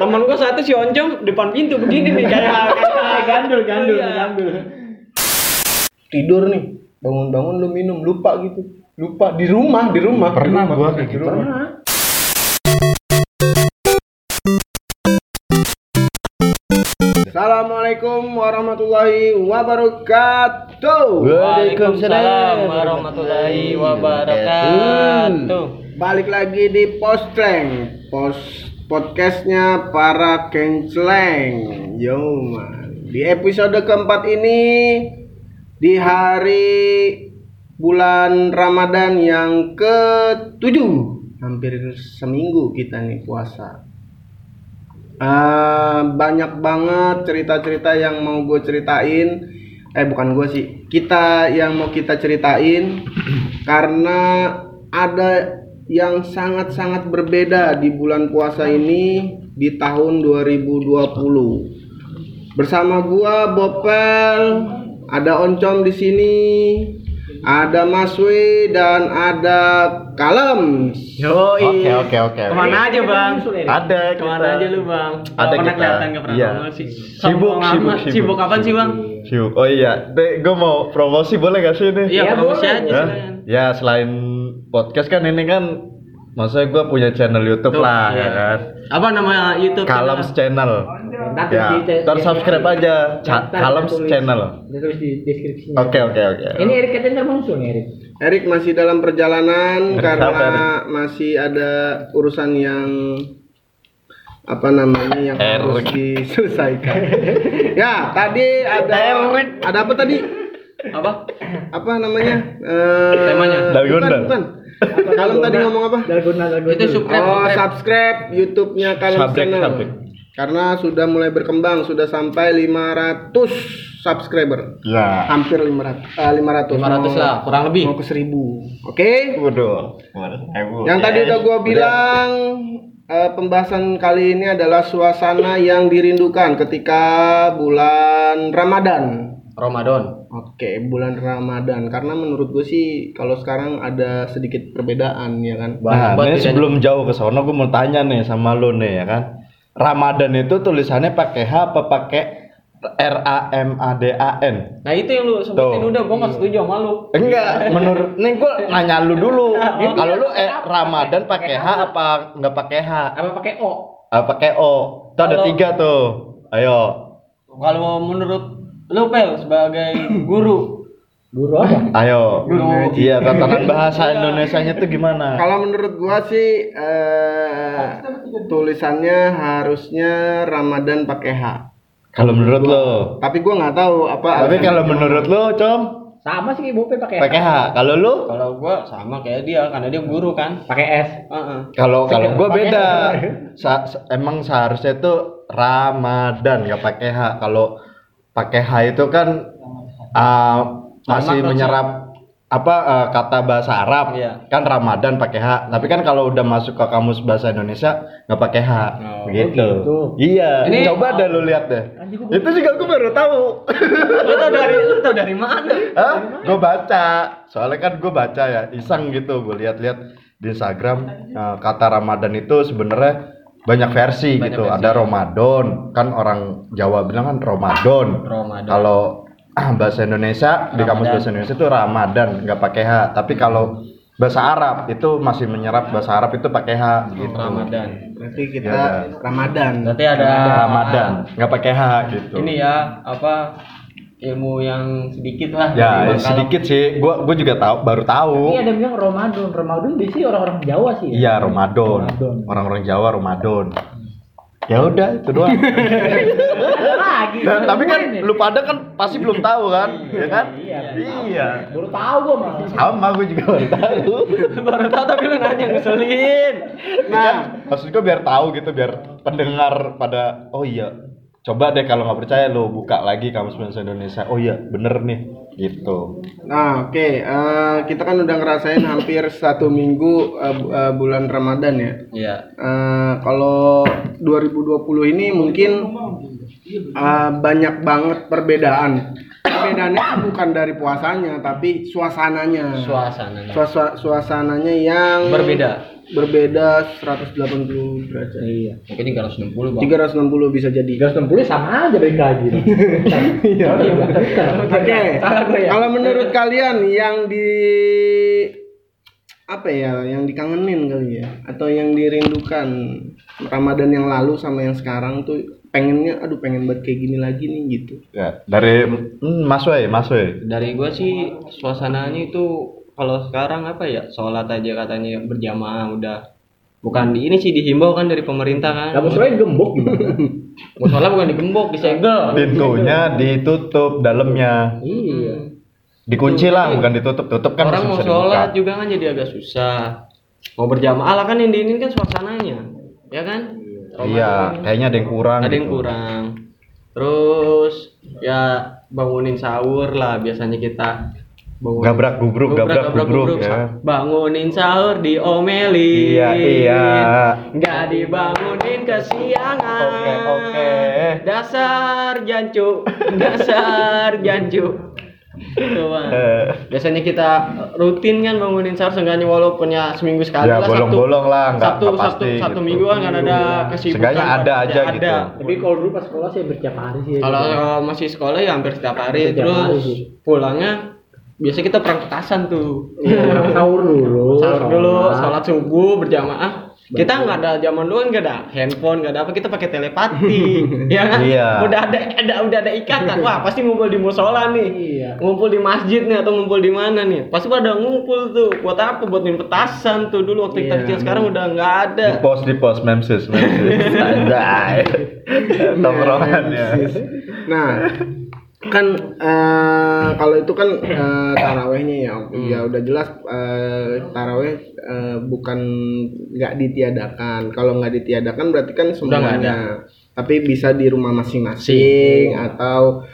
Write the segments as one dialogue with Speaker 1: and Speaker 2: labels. Speaker 1: Temen gua satu si Oncom depan pintu begini nih kayak
Speaker 2: Ah, gandul, gandul,
Speaker 1: Iya.
Speaker 2: gandul.
Speaker 3: tidur nih bangun-bangun lu minum lupa gitu lupa di rumah di rumah di
Speaker 4: Pernah
Speaker 3: rumah,
Speaker 4: gua kayak
Speaker 3: di
Speaker 4: gitu.
Speaker 3: rumah. Assalamualaikum warahmatullahi wabarakatuh.
Speaker 1: Waalaikumsalam warahmatullahi wabarakatuh.
Speaker 3: Balik lagi di Postreng, pos podcastnya para kenceleng. Yo man. Di episode keempat ini di hari bulan Ramadan yang ketujuh hampir seminggu kita nih puasa. Eh, banyak banget cerita-cerita yang mau gue ceritain eh bukan gue sih kita yang mau kita ceritain karena ada yang sangat-sangat berbeda di bulan puasa ini di tahun 2020 bersama gua Bopel ada Oncom di sini ada Maswi dan ada Kalem
Speaker 1: Yoi.
Speaker 4: Oke oke oke.
Speaker 1: Kemana aja bang?
Speaker 4: Ada
Speaker 1: Kemana
Speaker 4: kita.
Speaker 1: aja lu bang?
Speaker 4: Ada
Speaker 1: Nggak pernah
Speaker 4: kita.
Speaker 1: kelihatan nggak pernah
Speaker 4: Iya.
Speaker 1: nongol sih.
Speaker 4: Sibuk,
Speaker 1: Sombong
Speaker 4: sibuk,
Speaker 1: amat.
Speaker 4: sibuk.
Speaker 1: Sibuk kapan sih bang?
Speaker 4: Sibuk. Oh iya, Dek, gue mau promosi boleh gak sih ini?
Speaker 1: Iya promosi aja
Speaker 4: Hah?
Speaker 1: silakan.
Speaker 4: Ya selain podcast kan ini kan, maksudnya gue punya channel YouTube
Speaker 1: Tuh,
Speaker 4: lah
Speaker 1: iya.
Speaker 4: ya kan.
Speaker 1: Apa nama YouTube?
Speaker 4: Kalams Channel.
Speaker 2: Ntar
Speaker 4: Ya,
Speaker 2: di-
Speaker 4: ntar subscribe aja. Ca-
Speaker 2: Ntar kita
Speaker 4: Kalams
Speaker 2: tulis.
Speaker 4: Channel.
Speaker 2: Ntar tulis di deskripsinya.
Speaker 4: Oke oke oke.
Speaker 2: Ini Erik katanya ntar muncul nih Erik.
Speaker 3: Erik masih dalam
Speaker 4: Erik,
Speaker 3: perjalanan karena
Speaker 4: sabar, Erik.
Speaker 3: masih ada urusan yang apa namanya yang harus
Speaker 4: Erik.
Speaker 3: diselesaikan. ya, tadi ada
Speaker 4: Erik.
Speaker 3: ada apa tadi?
Speaker 1: Apa?
Speaker 3: Apa namanya? Eh,
Speaker 1: Temanya?
Speaker 4: Dalgona.
Speaker 3: Bukan, bukan. Kalem tadi ngomong apa?
Speaker 2: Dalgona, dalgona.
Speaker 1: Itu subscribe,
Speaker 3: Oh,
Speaker 1: subscribe.
Speaker 3: subscribe YouTube-nya Kalem
Speaker 4: Subscribe,
Speaker 3: Channel.
Speaker 4: subscribe.
Speaker 3: Karena sudah mulai berkembang, sudah sampai 500 subscriber.
Speaker 4: Ya.
Speaker 3: Hampir 500. eh, 500.
Speaker 1: 500
Speaker 3: Mau-
Speaker 1: lah, kurang lebih.
Speaker 3: Mau ke 1000. Oke?
Speaker 4: Waduh. Waduh.
Speaker 3: Yang tadi
Speaker 4: Yes.
Speaker 3: udah gua bilang eh, pembahasan kali ini adalah suasana yang dirindukan ketika bulan Ramadan.
Speaker 1: Ramadan.
Speaker 3: Oke, bulan Ramadan karena menurut gue sih kalau sekarang ada sedikit perbedaan ya kan.
Speaker 4: Nah,
Speaker 1: Buat
Speaker 4: ini
Speaker 1: bedanya.
Speaker 4: sebelum jauh ke sono gue mau tanya nih sama lu nih ya kan. Ramadan itu tulisannya pakai H apa pakai R A M A D A N?
Speaker 1: Nah itu yang lu sebutin
Speaker 4: Tuh.
Speaker 1: udah, gua nggak setuju sama lu.
Speaker 4: Enggak, menurut nih gue nanya lu dulu.
Speaker 3: Nah,
Speaker 4: Kalau lu eh, Ramadan pakai H apa enggak pakai H?
Speaker 2: Apa pakai O?
Speaker 4: Ah, pakai O. Tuh ada
Speaker 1: Kalau-
Speaker 4: tiga tuh. Ayo.
Speaker 1: Kalau menurut lu Pel sebagai guru,
Speaker 2: Guru apa?
Speaker 4: Ayo.
Speaker 1: Guru.
Speaker 4: Iya, tatanan bahasa Indonesianya tuh gimana?
Speaker 3: Kalau menurut gua sih eh, tulisannya harusnya Ramadan pakai H.
Speaker 4: Kalau menurut lu.
Speaker 3: Tapi gua nggak tahu apa.
Speaker 4: Tapi kalau menurut lu, Com,
Speaker 2: Sama sih Ibu Pe pakai
Speaker 4: pakai H. Kalau lu?
Speaker 1: kalau gua sama kayak dia karena dia guru kan.
Speaker 2: pakai S.
Speaker 1: Heeh.
Speaker 4: Kalau kalau gua
Speaker 2: Pakai
Speaker 4: beda.
Speaker 2: H.
Speaker 4: Sa- se- emang seharusnya itu Ramadan nggak pakai H. Kalau pakai H itu kan uh, masih
Speaker 1: Ramadan.
Speaker 4: menyerap apa uh, kata bahasa Arab
Speaker 1: Iya.
Speaker 4: kan Ramadan pakai H. Tapi kan kalau udah masuk ke kamus bahasa Indonesia nggak pakai H.
Speaker 1: Oh,
Speaker 4: gitu.
Speaker 2: gitu.
Speaker 4: Iya.
Speaker 1: Ini-
Speaker 4: Coba dah lu lihat deh.
Speaker 2: Anjing, gua-
Speaker 4: Itu juga gua baru tahu.
Speaker 1: lu tau dari lu tau dari mana?
Speaker 4: Hah? Gue baca. Soalnya kan gue baca ya, iseng gitu. Gue lihat-lihat di Instagram eh, kata Ramadan itu sebenarnya banyak versi
Speaker 1: Banyak
Speaker 4: gitu.
Speaker 1: versi.
Speaker 4: Ada Ramadan, kan orang Jawa bilang kan Ramadan.
Speaker 1: Ramadan.
Speaker 4: Kalau ah, bahasa Indonesia di kamus
Speaker 1: Ramadan.
Speaker 4: bahasa Indonesia itu Ramadan, nggak pakai H. Tapi kalau bahasa Arab itu masih menyerap bahasa Arab itu pakai H gitu.
Speaker 1: Ramadan.
Speaker 3: berarti kita
Speaker 4: Ya.
Speaker 3: Ramadan.
Speaker 1: Berarti ada
Speaker 4: Ramadan, nggak pakai H gitu.
Speaker 1: Ini ya apa ilmu yang sedikit lah. dari
Speaker 4: ya
Speaker 1: Bang Kalem.
Speaker 4: sedikit sih. Gue gue juga tahu baru tahu.
Speaker 2: Ini ada yang bilang Ramadan. Ramadan biasanya orang-orang Jawa sih. ya?
Speaker 4: Iya, Ramadan.
Speaker 2: Ramadan.
Speaker 4: Orang-orang Jawa Ramadan. Ya udah, itu doang.
Speaker 2: Ada lagi.
Speaker 4: Nah, tapi kan
Speaker 2: Ini.
Speaker 4: lu pada kan pasti belum tahu kan, ya kan?
Speaker 2: Iya.
Speaker 4: Iya.
Speaker 2: baru tahu gua mah.
Speaker 4: Sama gue juga baru tahu.
Speaker 1: baru tau tapi lu nanya ngeselin.
Speaker 4: Nah, maksud gue biar tahu gitu, biar pendengar pada oh iya. Coba deh kalau nggak percaya lu buka lagi kamus bahasa Indonesia. Oh iya, bener nih. Gitu.
Speaker 3: Nah, oke, eh, kita kan udah ngerasain hampir satu minggu eh, bu- eh, bulan Ramadan ya.
Speaker 1: Iya.
Speaker 3: Eh, kalau 2020 ini mungkin eh, banyak banget perbedaan. Perbedaannya kan bukan dari puasanya, tapi suasananya.
Speaker 1: Suasananya
Speaker 3: Suasa- suasananya yang
Speaker 1: berbeda.
Speaker 3: berbeda 180 derajat.
Speaker 2: Iya.
Speaker 1: Mungkin 360 bang.
Speaker 3: 360 bisa jadi.
Speaker 2: 360 sama aja BK gitu. Iya.
Speaker 3: Oke.
Speaker 2: Salah gue ya.
Speaker 3: Kalau menurut kalian yang di apa ya, yang dikangenin kali ya atau yang dirindukan Ramadan yang lalu sama yang sekarang tuh pengennya aduh pengen banget kayak gini lagi nih gitu.
Speaker 4: Ya, dari hmm, Mas Wei, Mas Wei.
Speaker 1: Dari gua sih suasananya itu kalau sekarang apa ya sholat aja katanya berjamaah udah bukan di ini sih dihimbau kan dari pemerintah kan.
Speaker 2: Kamu selain gembok gimana?
Speaker 1: Musola bukan digembok,
Speaker 4: Iya.
Speaker 1: disegel.
Speaker 4: Pintunya ditutup dalamnya.
Speaker 2: Iya.
Speaker 4: Dikunci lah, bukan ditutup. Tutup kan
Speaker 1: Orang
Speaker 4: masih
Speaker 1: mau
Speaker 4: bisa dibuka.
Speaker 1: sholat juga kan jadi agak susah. Mau berjamaah lah kan yang diinin kan suasananya, ya kan?
Speaker 4: Iya, kayaknya ada yang kurang.
Speaker 1: ada yang
Speaker 4: gitu.
Speaker 1: kurang terus ya bangunin sahur lah biasanya kita bangun
Speaker 4: Gabrak gubruk, gabrak gubruk, ya.
Speaker 1: Iya. bangunin sahur diomelin
Speaker 4: Iya, iya.
Speaker 1: nggak dibangunin kesiangan
Speaker 4: Oke, oke.
Speaker 1: dasar jancu dasar jancu Gitu, Bang.
Speaker 4: Eh.
Speaker 1: biasanya kita rutin kan bangunin sahur seenggaknya walaupun ya seminggu sekali lah
Speaker 4: Ya,
Speaker 1: Sabtu-
Speaker 4: bolong-bolong lah, nggak-
Speaker 1: Sabtu
Speaker 4: nggak
Speaker 1: Sabtu,
Speaker 4: pasti
Speaker 1: Sabtu
Speaker 4: gitu.
Speaker 1: minggu kan ada kesibukan
Speaker 4: Seenggaknya ada
Speaker 1: pasti
Speaker 4: aja gitu.
Speaker 2: Tapi kalau dulu pas sekolah sih hampir tiap hari sih.
Speaker 3: Iya,
Speaker 2: ya.
Speaker 1: kalau kalau masih sekolah ya hampir setiap hari
Speaker 2: Hampir setiap
Speaker 1: terus
Speaker 2: hari sih.
Speaker 1: pulangnya biasa kita perang petasan tuh
Speaker 2: Iya, sahur dulu.
Speaker 3: Oh,
Speaker 1: sahur dulu sholat subuh berjamaah kita nggak ada zaman dulu kan nggak ada handphone nggak ada apa kita pakai telepati ya kan
Speaker 4: Iya.
Speaker 1: udah ada ada udah ada ikatan wah pasti ngumpul di musola nih
Speaker 2: Iya.
Speaker 1: ngumpul di masjid nih atau ngumpul di mana nih pasti pada ngumpul tuh buat apa buat main petasan tuh dulu waktu kita
Speaker 3: Iya,
Speaker 1: kecil sekarang udah nggak ada
Speaker 4: Di pos di pos memsis memsis. Anjay.
Speaker 1: Iya,
Speaker 4: Tongkrongan ya.
Speaker 3: Iya, Nah, kan eh, kalau itu kan eh, tarawehnya ya,
Speaker 1: Hmm.
Speaker 3: ya udah jelas eh, taraweh eh, bukan nggak ditiadakan. Kalau nggak ditiadakan berarti kan
Speaker 1: Udah nggak ada.
Speaker 3: semuanya. Tapi bisa di rumah masing-masing atau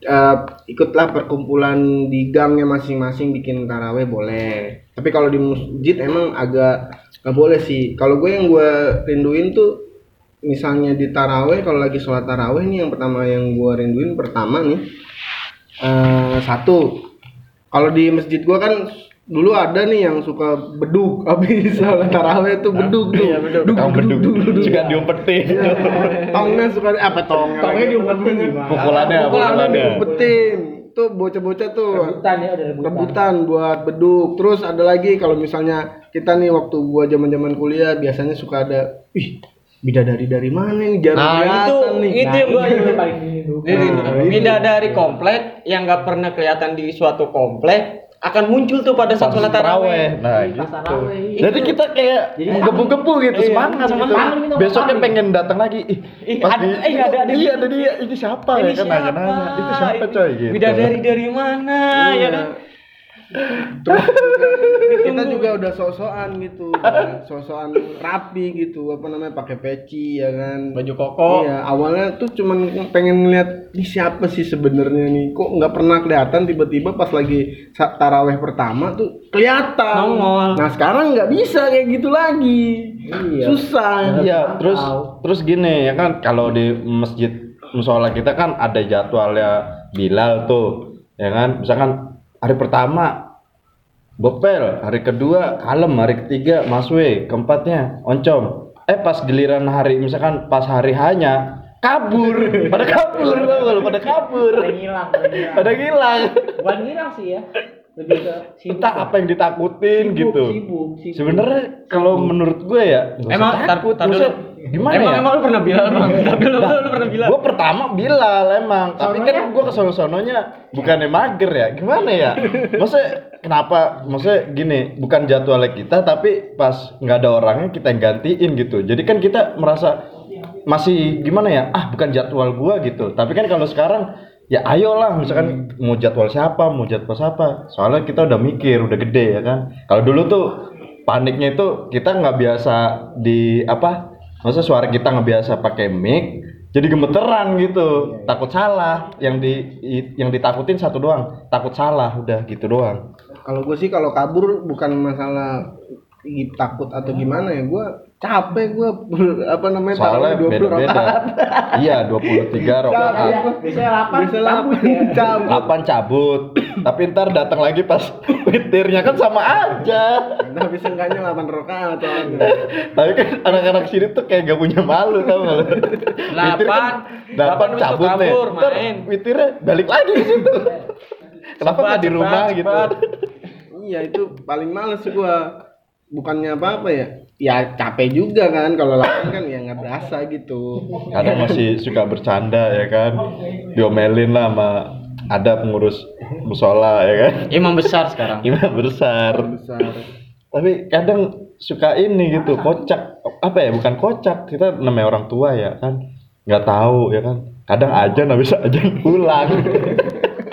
Speaker 3: eh, ikutlah perkumpulan di gangnya masing-masing bikin taraweh boleh. Tapi kalau di masjid emang agak nggak boleh sih. Kalau gue yang gue rinduin tuh misalnya di taraweh kalau lagi sholat taraweh nih yang pertama yang gua rinduin pertama nih eh satu kalau di masjid gua kan dulu ada nih yang suka beduk habis sholat taraweh tuh beduk tuh
Speaker 4: Kamu beduk
Speaker 3: Duk, duk,
Speaker 4: Iya.
Speaker 3: duk, duk, duk.
Speaker 4: juga diumpetin.
Speaker 1: Iya,
Speaker 3: tongnya suka apa tongnya
Speaker 2: Tongnya
Speaker 3: lagi?
Speaker 2: diumpetin gimana?
Speaker 4: Pukulannya,
Speaker 3: Pukulannya
Speaker 4: pukulannya.
Speaker 3: diumpetin tuh bocah-bocah tuh
Speaker 2: Rebutan ya udah rebutan.
Speaker 3: rebutan buat beduk terus ada lagi kalau misalnya kita nih waktu gua zaman zaman kuliah biasanya suka ada ih bidadari dari mana nih jarang
Speaker 1: Nah, itu-
Speaker 3: kelihatan nih
Speaker 1: Itu yang gua
Speaker 2: ini
Speaker 1: ingat.
Speaker 2: paling ini
Speaker 1: Jadi
Speaker 4: Oh,
Speaker 3: Nah,
Speaker 4: iya.
Speaker 1: pindah dari komplek yang nggak pernah kelihatan di suatu komplek akan muncul tuh pada
Speaker 4: Pas
Speaker 1: saat sholat
Speaker 4: taraweh.
Speaker 1: taraweh.
Speaker 4: Nah, gitu.
Speaker 2: Pasar Rawe.
Speaker 4: Jadi kita kayak
Speaker 2: Jadi
Speaker 4: menggebu-gebu gitu
Speaker 1: Iya,
Speaker 4: semangat
Speaker 1: semangat.
Speaker 4: gitu.
Speaker 2: Kangen gitu,
Speaker 4: Besoknya
Speaker 2: kangen.
Speaker 4: pengen datang lagi. Ih,
Speaker 1: Ih,
Speaker 4: pas
Speaker 1: ada-
Speaker 4: di-
Speaker 1: eh, ada- ada
Speaker 4: Iya,
Speaker 1: dia.
Speaker 4: ada dia. Ini siapa
Speaker 1: Ini
Speaker 4: ya kan nanya-nanya. Itu siapa coy gitu. Iya.
Speaker 1: Bidadari dari mana ya kan?
Speaker 3: kita juga udah sosokan gitu sosokan rapi gitu apa namanya pakai peci ya kan
Speaker 1: Baju koko.
Speaker 3: iya awalnya tuh cuman pengen ngeliat ini siapa sih sebenarnya nih kok nggak pernah kelihatan tiba-tiba pas lagi sa- taraweh pertama tuh kelihatan
Speaker 1: Nongol.
Speaker 3: nah sekarang nggak bisa kayak gitu lagi
Speaker 2: Iya.
Speaker 3: susah
Speaker 4: Iya, terus
Speaker 2: Tahu.
Speaker 4: terus gini ya kan kalau di masjid musola kita kan ada jadwalnya Bilal tuh. Ya kan? Misalkan hari pertama Bopel, hari kedua Kalem, hari ketiga Maswe, keempatnya Oncom. Eh pas giliran hari misalkan pas hari hanya kabur, pada kabur, tau nggak lu? pada kabur,
Speaker 2: Paling hilang. paling hilang.
Speaker 4: pada hilang.
Speaker 2: Bukan hilang sih ya. Lebih ke sibuk.
Speaker 4: Entah apa yang ditakutin
Speaker 2: Sibuk,
Speaker 4: gitu.
Speaker 2: Sibuk, sibuk.
Speaker 4: Sebenarnya kalau menurut gue ya, nggak usah
Speaker 1: Emang, tar-
Speaker 4: takut,
Speaker 1: tar
Speaker 4: nggak usah-
Speaker 1: dulu.
Speaker 4: gimana
Speaker 1: emang
Speaker 4: ya?
Speaker 1: emang lu pernah bilang bang? Tapi lu, lu, lu pernah bilang.
Speaker 4: Gue pertama Bilal emang, tapi kan gue kesel sononya bukannya mager ya, gimana ya? Maksudnya kenapa? Maksudnya gini, bukan jadwalnya kita, tapi pas nggak ada orangnya kita yang gantiin gitu. Jadi kan kita merasa masih gimana ya? Ah bukan jadwal gua gitu. Tapi kan kalau sekarang ya ayolah misalkan mau jadwal siapa, mau jadwal siapa. Soalnya kita udah mikir, udah gede ya kan. Kalau dulu tuh paniknya itu kita nggak biasa di apa? Maksudnya suara kita nggak biasa pakai mic, jadi gemeteran gitu takut salah yang di i- yang ditakutin satu doang takut salah udah gitu doang
Speaker 3: kalau gue sih kalau kabur bukan masalah gi- takut atau gimana ya gue capek gue apa namanya
Speaker 4: Soalnya
Speaker 3: taruh 20
Speaker 4: beda-beda.
Speaker 3: rakaat.
Speaker 4: Iya, 23
Speaker 3: Capek.
Speaker 4: rokaat.
Speaker 2: Biasanya lapan,
Speaker 3: Biasanya lapan,
Speaker 2: cabut ya.
Speaker 3: cabut.
Speaker 4: 8 cabut. Tapi ntar datang lagi pas witirnya kan sama aja.
Speaker 3: Tapi seenggaknya 8 rokaat soalnya.
Speaker 4: Tapi kan anak-anak sini tuh kayak gak punya malu tau gak lu? Witir kan
Speaker 5: Lapan.
Speaker 4: Delapan
Speaker 5: Lapan itu
Speaker 4: cabut nih.
Speaker 5: kabur,
Speaker 4: Ntar
Speaker 5: main.
Speaker 4: witirnya balik lagi ke situ. Kenapa
Speaker 5: Cepat,
Speaker 4: gak di
Speaker 5: cepat,
Speaker 4: rumah gitu?
Speaker 5: cepat.
Speaker 3: Iya itu paling males gue bukannya apa-apa ya ya capek juga kan kalau lapan kan ya nggak berasa gitu
Speaker 4: Kadang masih suka bercanda ya kan. Diomelin lah sama ada pengurus musola ya kan.
Speaker 1: Emang besar sekarang.
Speaker 4: Gimana besar.
Speaker 3: besar
Speaker 4: tapi kadang suka ini gitu kocak apa ya bukan kocak kita namanya orang tua ya kan nggak tahu ya kan kadang aja nggak bisa aja pulang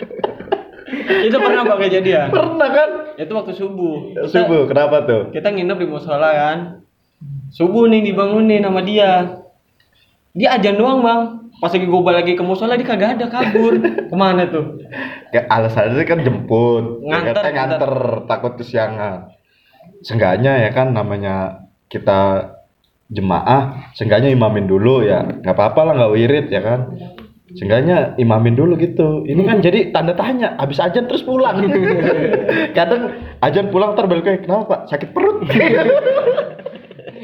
Speaker 5: itu pernah bakal
Speaker 1: ya?
Speaker 5: kejadian
Speaker 4: pernah kan
Speaker 5: itu waktu subuh kita,
Speaker 4: subuh kenapa tuh
Speaker 5: kita nginep di musola kan subuh nih dibangunin sama dia dia ajan doang bang pas lagi gue balik lagi ke musola dia kagak ada kabur kemana tuh
Speaker 4: kayak alasannya kan jemput
Speaker 5: Nganter,
Speaker 4: nganter, nganter takut kesiangan seenggaknya ya kan namanya kita jemaah seenggaknya imamin dulu ya nggak apa-apa lah nggak wirid ya kan seenggaknya imamin dulu gitu ini kan jadi tanda tanya habis ajan terus pulang kadang ajan pulang terbaliknya kenapa pak sakit perut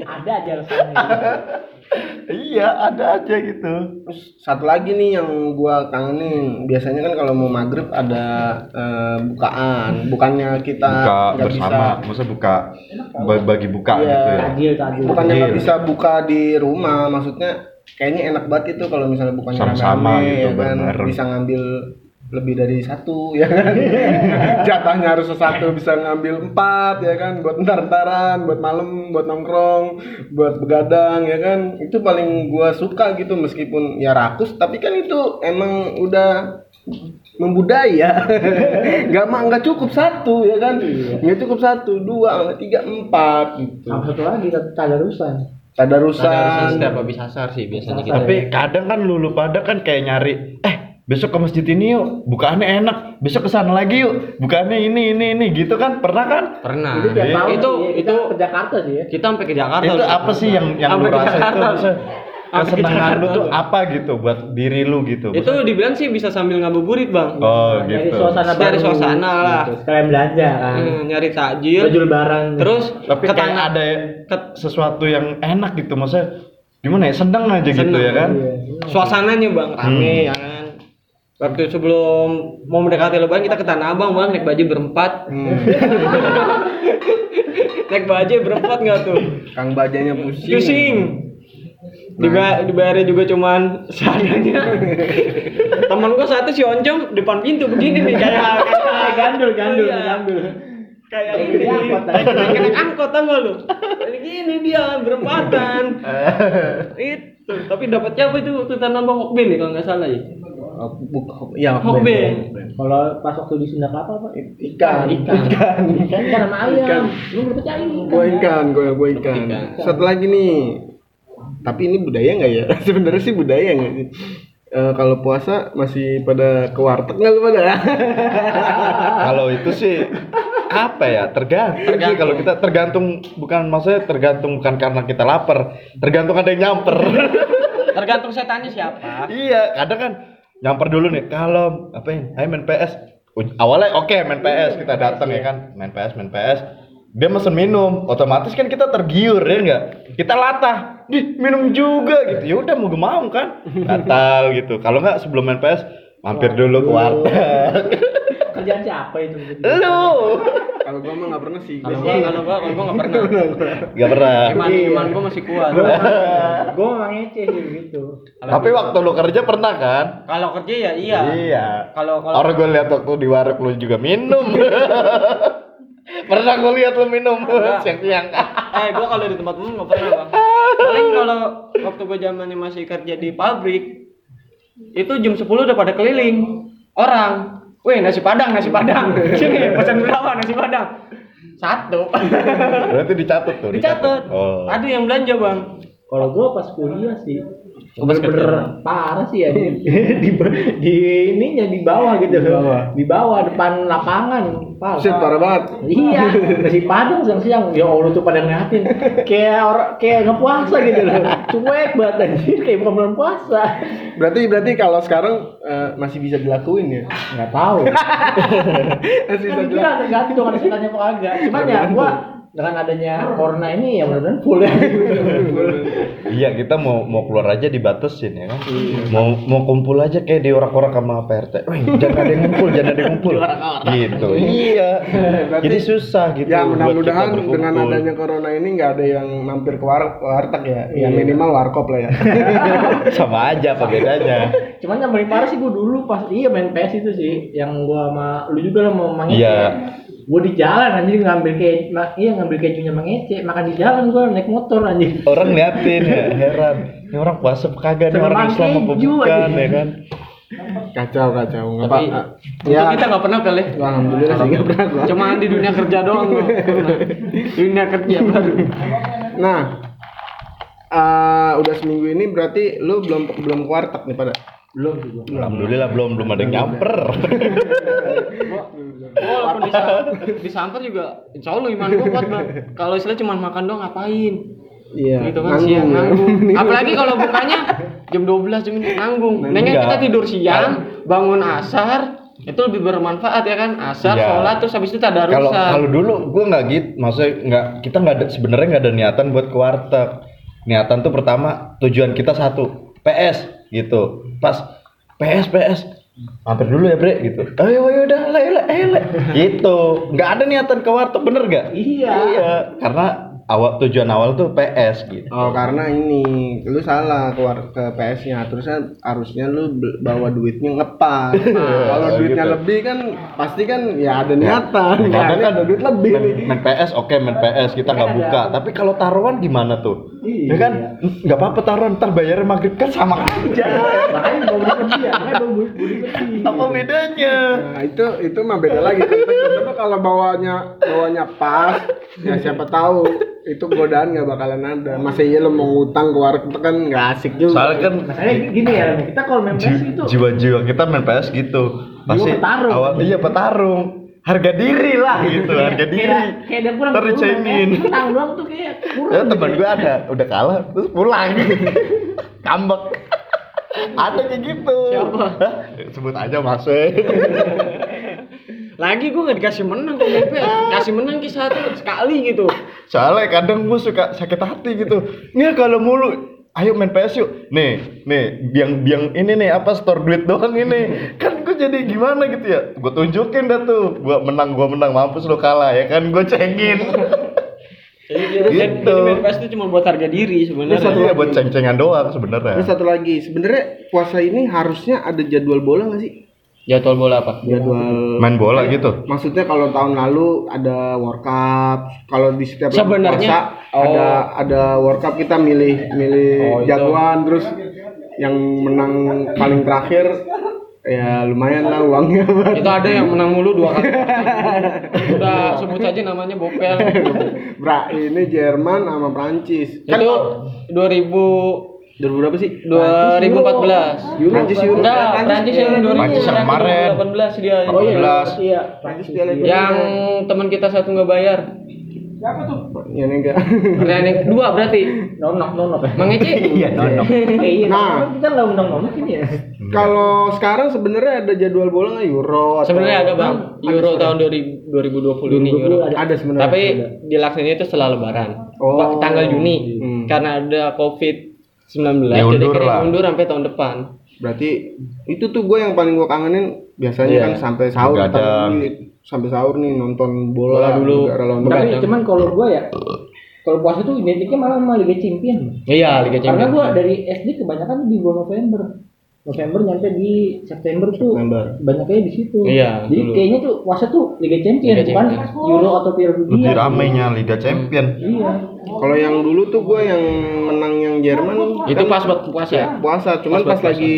Speaker 2: Ada aja alasannya.
Speaker 4: iya ada aja gitu
Speaker 3: Terus satu lagi nih yang gua kangenin. Biasanya kan kalau mau maghrib ada eh, bukaan. Bukannya kita
Speaker 4: buka
Speaker 3: nggak
Speaker 4: bersama maksudnya buka ba- bagi buka
Speaker 3: Iya.
Speaker 4: gitu ya
Speaker 2: Tajil, tajil.
Speaker 3: bukannya nggak
Speaker 4: Iya.
Speaker 3: bisa buka di rumah. Maksudnya kayaknya enak banget itu kalau misalnya bukannya
Speaker 4: Sama-sama
Speaker 3: rame-rame,
Speaker 4: gitu,
Speaker 3: ya kan.
Speaker 4: bareng-bareng.
Speaker 3: Bisa ngambil lebih dari satu ya kan jatahnya harus satu bisa ngambil empat ya kan buat ntar-ntaran buat malam buat nongkrong buat begadang ya kan itu paling gua suka gitu meskipun ya rakus tapi kan itu emang udah membudaya nggak ma- nggak cukup satu ya kan nggak cukup satu dua tiga empat gitu
Speaker 2: Sama satu lagi, tadarusan.
Speaker 1: Ada
Speaker 3: tadarusan
Speaker 1: setiap habis asar sih biasanya kita.
Speaker 4: Tapi kadang kan lulu pada kan kayak nyari, eh besok ke masjid ini yuk, bukaannya enak, besok ke sana lagi yuk, bukaannya ini ini ini gitu kan pernah kan?
Speaker 1: Pernah.
Speaker 2: Itu tiap tahun
Speaker 1: Ah, iya. Itu
Speaker 2: sih, ya,
Speaker 1: itu
Speaker 2: kita ke Jakarta sih ya.
Speaker 1: kita sampai ke Jakarta.
Speaker 4: itu
Speaker 1: loh.
Speaker 4: apa sih yang yang
Speaker 1: Sampai
Speaker 4: lu
Speaker 1: ke
Speaker 4: rasa itu
Speaker 1: Jakarta.
Speaker 4: maksudnya
Speaker 1: Sampai ke
Speaker 4: kesenangan lu
Speaker 1: Jakarta
Speaker 4: tuh
Speaker 1: loh.
Speaker 4: apa gitu buat diri lu gitu?
Speaker 1: Itu dibilang sih bisa sambil ngabuburit, Bang.
Speaker 4: oh
Speaker 2: Dari
Speaker 4: gitu.
Speaker 2: suasana
Speaker 1: Dari
Speaker 2: baru.
Speaker 1: suasana lah.
Speaker 2: Gitu. Sekalian belanja kan.
Speaker 1: Ah. Hmm, nyari
Speaker 2: Baju
Speaker 1: takjil.
Speaker 2: lebaran.
Speaker 1: Terus
Speaker 4: Tapi
Speaker 1: ke
Speaker 4: kayak
Speaker 1: tanah-
Speaker 4: ada
Speaker 1: ke-
Speaker 4: sesuatu yang enak gitu maksudnya gimana ya seneng aja gitu
Speaker 1: Seneng,
Speaker 4: ya kan?
Speaker 2: Iya.
Speaker 1: suasananya bang rame
Speaker 4: Hmm.
Speaker 1: ya kan waktu sebelum mau mendekati lebaran kita ke tanah abang bang naik bajaj berempat
Speaker 3: Hmm.
Speaker 1: naik bajaj berempat nggak tuh
Speaker 3: kang bajanya pusing
Speaker 1: pusing Diba dibayarnya juga cuman seadanya temen gua satu si oncom depan pintu begini nih kayak
Speaker 2: Eh,
Speaker 1: kayak
Speaker 2: gandul, gandul,
Speaker 1: Iya.
Speaker 2: gandul.
Speaker 1: kayak
Speaker 2: Naik
Speaker 1: ini eh.
Speaker 2: angkot,
Speaker 1: naik naik angkot tau gak lu Jadi gini dia berempatan itu tapi dapatnya apa itu waktu tanah abang hokben ya kalau nggak salah ya
Speaker 3: Oh, buk- ya
Speaker 1: Hokben.
Speaker 2: Kalau pas waktu di Sunda Kelapa apa?
Speaker 3: ikan
Speaker 2: Ikan.
Speaker 3: ikan
Speaker 2: Ikan sama
Speaker 3: Ikan.
Speaker 2: ayam. Lu ngerti cari
Speaker 3: gue ikan gue gue ikan
Speaker 1: Ikan.
Speaker 3: satu lagi nih tapi ini budaya nggak ya sebenarnya sih budaya nggak sih Eh, kalau puasa masih pada ke warteg nggak lu pada
Speaker 4: Kalau itu sih apa ya tergantung, sih kalau kita tergantung bukan maksudnya tergantung bukan karena kita lapar tergantung ada yang nyamper
Speaker 1: tergantung setannya siapa
Speaker 4: iya kadang kan nyamper dulu nih kalau ngapain ayo main PS Uj- awalnya oke main PS kita datang ya kan main PS main PS dia mesen minum otomatis kan kita tergiur ya enggak kita latah di minum juga gitu ya udah mau gak mau kan batal gitu kalau nggak sebelum main PS mampir dulu ke warteg
Speaker 2: Kerjaan siapa itu?
Speaker 4: lu
Speaker 3: kalau gue mah nggak pernah sih
Speaker 1: kalau gua kalau gua kalau gua nggak pernah
Speaker 4: nggak pernah
Speaker 1: iman iman gua masih kuat
Speaker 2: Iya. Gue nggak ngece sih gitu.
Speaker 4: tapi waktu lu kerja pernah kan
Speaker 1: kalau kerja ya iya
Speaker 4: iya
Speaker 1: kalau kalau
Speaker 4: orang gue lihat waktu di warung lu juga minum pernah gue lihat lu minum siang-siang
Speaker 1: eh gua kalau di tempat umum nggak pernah bang paling kalau waktu gua zamannya masih kerja di pabrik itu jam 10 udah pada keliling orang Weh, nasi padang, nasi padang. Sini, pesan berapa nasi padang? Satu.
Speaker 4: berarti dicatat tuh
Speaker 1: Dicatat.
Speaker 4: oh
Speaker 1: Ada yang belanja, Bang.
Speaker 2: Kalau gue pas kuliah sih,
Speaker 5: Gue basket ya.
Speaker 2: bener parah sih ya di, di, di ininya di bawah gitu
Speaker 4: Di bawah.
Speaker 2: di bawah depan lapangan parah
Speaker 3: Shit, parah banget.
Speaker 2: iya nasi padang siang siang ya allah tuh pada ngeliatin kayak orang kayak nggak puasa gitu loh cuek banget anjir kayak bukan bulan puasa
Speaker 3: Berarti berarti kalau sekarang eh, masih bisa dilakuin ya?
Speaker 2: nggak tahu
Speaker 3: Masih bisa
Speaker 2: kan kita
Speaker 3: dilakuin.
Speaker 2: tergantung ada setannya apa kagak cuman ya gua dengan adanya corona ini ya benar-benar full ya
Speaker 4: Iya kita mau mau keluar aja dibatasin ya kan.
Speaker 1: Iya.
Speaker 4: Mau mau kumpul aja kayak diorak-orak sama PRT. Weh, jangan ada yang ngumpul, jangan ada yang ngumpul. gitu. Iya.
Speaker 3: Berarti-
Speaker 4: Jadi susah gitu.
Speaker 3: Ya
Speaker 4: buat
Speaker 3: mudah-mudahan
Speaker 4: kita berkumpul.
Speaker 3: dengan adanya corona ini nggak ada yang mampir ke war- warteg ya. Ya
Speaker 2: Iya.
Speaker 3: minimal warkop lah ya.
Speaker 4: sama aja apa bedanya.
Speaker 2: cuman yang paling parah sih gua dulu pas iya main PS itu sih yang gua sama lu juga lah mau mangece
Speaker 4: Iya.
Speaker 2: gua di jalan anjir ngambil ke ma- iya ngambil kejunya mangece makan di jalan gua naik motor anjir
Speaker 4: Orang liatin ya heran. Ini orang puasa apa kagak nih orang
Speaker 2: Terbang
Speaker 4: Islam apa
Speaker 2: keju
Speaker 4: bukan
Speaker 2: aja.
Speaker 4: ya kan.
Speaker 3: kacau kacau. Nggak
Speaker 1: Tapi-
Speaker 3: apa-
Speaker 1: Ya.
Speaker 3: Ya,
Speaker 1: kita nggak pernah kali.
Speaker 3: alhamdulillah sih nggak pernah gua.
Speaker 1: Cuma di dunia kerja doang gua. Dunia kerja baru.
Speaker 3: Nah, eh, udah seminggu ini berarti lu belum belum ke warteg nih pada.
Speaker 2: belum sih gua
Speaker 4: Alhamdulillah belum belum ada yang nyamper.
Speaker 1: Oh, Walaupun disa- disamper juga insya Allah iman gua kuat bang. Kalau istilah cuma makan doang ngapain?
Speaker 3: Iya.
Speaker 1: gitu kan siang nanggung. Apalagi kalau bukanya jam 12 jam ini nanggung.
Speaker 3: Nanggung.
Speaker 1: Mendingan kita
Speaker 4: Enggak.
Speaker 1: tidur siang, bangun asar, itu lebih bermanfaat ya kan? Asar,
Speaker 4: Iya.
Speaker 1: sholat, terus habis itu
Speaker 4: Kalau kalau
Speaker 1: tadarusan.
Speaker 4: dulu gua nggak gitu, maksudnya nggak kita nggak ada sebenarnya nggak ada niatan buat ke warteg. Niatan tuh pertama tujuan kita satu PS gitu. Pas PS PS mampir dulu ya bre gitu. Ayo ayo udah le le eh, le. gitu. Nggak ada niatan ke warteg bener gak?
Speaker 2: Iya.
Speaker 4: Karena awal tujuan awal tuh PS gitu.
Speaker 3: Oh karena ini lu salah keluar ke PS-nya terusnya harusnya lu be- bawa duitnya ngepas. Kalau
Speaker 4: Oh,
Speaker 3: duitnya
Speaker 4: gitu.
Speaker 3: lebih kan pasti kan ya ada niatan.
Speaker 2: Nah,
Speaker 3: Ya,
Speaker 4: Kadang
Speaker 3: ini
Speaker 4: kan
Speaker 3: ada duit lebih
Speaker 4: main,
Speaker 3: nih.
Speaker 4: main PS oke main PS kita nggak buka tapi kalau taruhan gimana tuh
Speaker 2: Iya.
Speaker 4: ya kan nggak apa-apa taruhan ntar bayarnya maghrib kan sama aja
Speaker 2: makanya gua beli lebih ya makanya gua beli beli lebih
Speaker 4: apa bedanya
Speaker 3: Nah, itu itu mah beda lagi. Tapi kalau bawanya bawanya pas, ya siapa tahu itu godaan nggak bakalan ada. Masa iya lu mau ngutang ke warteg kan nggak asik juga.
Speaker 4: soalnya kan
Speaker 2: makanya gini ya Ren, kita kalau main PS
Speaker 4: ji-
Speaker 2: itu
Speaker 4: jiwa-jiwa kita main PS gitu pasti
Speaker 2: petarung. Iya.
Speaker 4: awal iya petarung harga diri lah gitu harga diri
Speaker 2: kayak kayak ada kurang
Speaker 4: Ntar
Speaker 2: kurang,
Speaker 4: dicengin.
Speaker 2: ya. Menang doang tuh kayak kurang
Speaker 4: ya
Speaker 2: gitu
Speaker 4: teman gue ada udah kalah terus pulang ngambek ada kayak gitu
Speaker 1: Siapa?
Speaker 4: Hah? sebut aja mas Wei.
Speaker 1: Lagi gua nggak dikasih menang kok Mepe. Kasih menang ki satu sekali gitu.
Speaker 4: Soalnya kadang gue suka sakit hati gitu. Nih kalau mulu ayo main PS yuk. Nih, nih biang biang ini nih apa store duit doang ini. Kan gue jadi gimana gitu ya. Gue tunjukin dah tuh. Gua menang, gua menang mampus lu kalah ya kan gue cengin.
Speaker 1: Jadi jadi-
Speaker 4: Gitu.
Speaker 1: jadi main PS itu cuma buat harga diri
Speaker 4: Ini
Speaker 1: sebenarnya.
Speaker 4: satu ya buat ceng-cengan doang
Speaker 3: Terus
Speaker 4: sebenarnya.
Speaker 3: satu lagi, sebenarnya puasa ini harusnya ada jadwal bola nggak sih?
Speaker 1: Jadwal bola apa?
Speaker 3: Jadwal
Speaker 4: Main bola gitu.
Speaker 3: Maksudnya kalau tahun lalu ada World Cup, kalau di setiap bulan
Speaker 1: Sebenarnya- Oh.
Speaker 3: puasa ada ada World Cup kita milih milih jagoan terus yang menang paling terakhir ya lumayan lah uangnya.
Speaker 1: Itu ada yang menang mulu dua kali. Udah sebut aja namanya Bopel.
Speaker 3: Bra, ini Jerman sama Prancis. Kan
Speaker 1: Itu 2000
Speaker 3: dari berapa sih?
Speaker 1: 2014.
Speaker 3: Prancis Euro.
Speaker 1: Enggak, Prancis yang 2000
Speaker 4: Prancis yang kemarin.
Speaker 1: 2018 dia.
Speaker 2: oh iya
Speaker 4: 14.
Speaker 2: iya
Speaker 3: Prancis Piala Dunia.
Speaker 1: Yang teman kita satu nggak bayar.
Speaker 3: Ya, ini enggak.
Speaker 1: Nah, ini dua berarti.
Speaker 2: nonok nonok ya
Speaker 1: Mang Eci.
Speaker 4: Iya, nonok.
Speaker 2: Eh, iya,
Speaker 3: Nah.
Speaker 2: nah kita nggak undang nonok ini ya
Speaker 3: Kalau sekarang sebenarnya ada jadwal bola nggak Euro atau-
Speaker 1: Sebenarnya ada Bang Euro tahun 2000 2020 ini Euro.
Speaker 3: Ada sebenarnya.
Speaker 1: Tapi dilaksanainnya itu setelah lebaran.
Speaker 3: Oh.
Speaker 1: Pak, Tanggal Juni
Speaker 3: Hmm.
Speaker 1: karena ada Covid 19 jadi
Speaker 4: Diundur
Speaker 1: kita
Speaker 4: lah.
Speaker 1: mundur sampai tahun depan.
Speaker 3: Berarti itu tuh gue yang paling gue kangenin biasanya
Speaker 1: Iya.
Speaker 3: kan sampai sahur
Speaker 4: Begadang.
Speaker 3: ntar dulu, sampai sahur nih nonton bola,
Speaker 1: Bola dulu.
Speaker 3: negara lawan
Speaker 2: tapi
Speaker 1: Begadang.
Speaker 2: cuman kalau gua ya kalau puasa tuh identiknya malah sama Liga Champion
Speaker 1: Iya, Liga
Speaker 2: karena
Speaker 1: Champions.
Speaker 2: gua dari SD kebanyakan di bulan November November nyampe di September tuh
Speaker 3: September.
Speaker 2: banyaknya di situ
Speaker 1: Iya,
Speaker 2: jadi
Speaker 1: dulu.
Speaker 2: kayaknya tuh puasa tuh Liga Champion
Speaker 1: Liga
Speaker 2: bukan
Speaker 1: Champion.
Speaker 2: Euro atau Piala Dunia
Speaker 4: Lebih ramainya Liga Champion.
Speaker 2: iya
Speaker 3: Kalau yang dulu tuh gue yang menang yang Jerman
Speaker 1: Itu pas
Speaker 3: kan
Speaker 1: buat puasa. ya?
Speaker 3: puasa, cuman
Speaker 1: Pas
Speaker 3: pas,
Speaker 1: buat
Speaker 3: lagi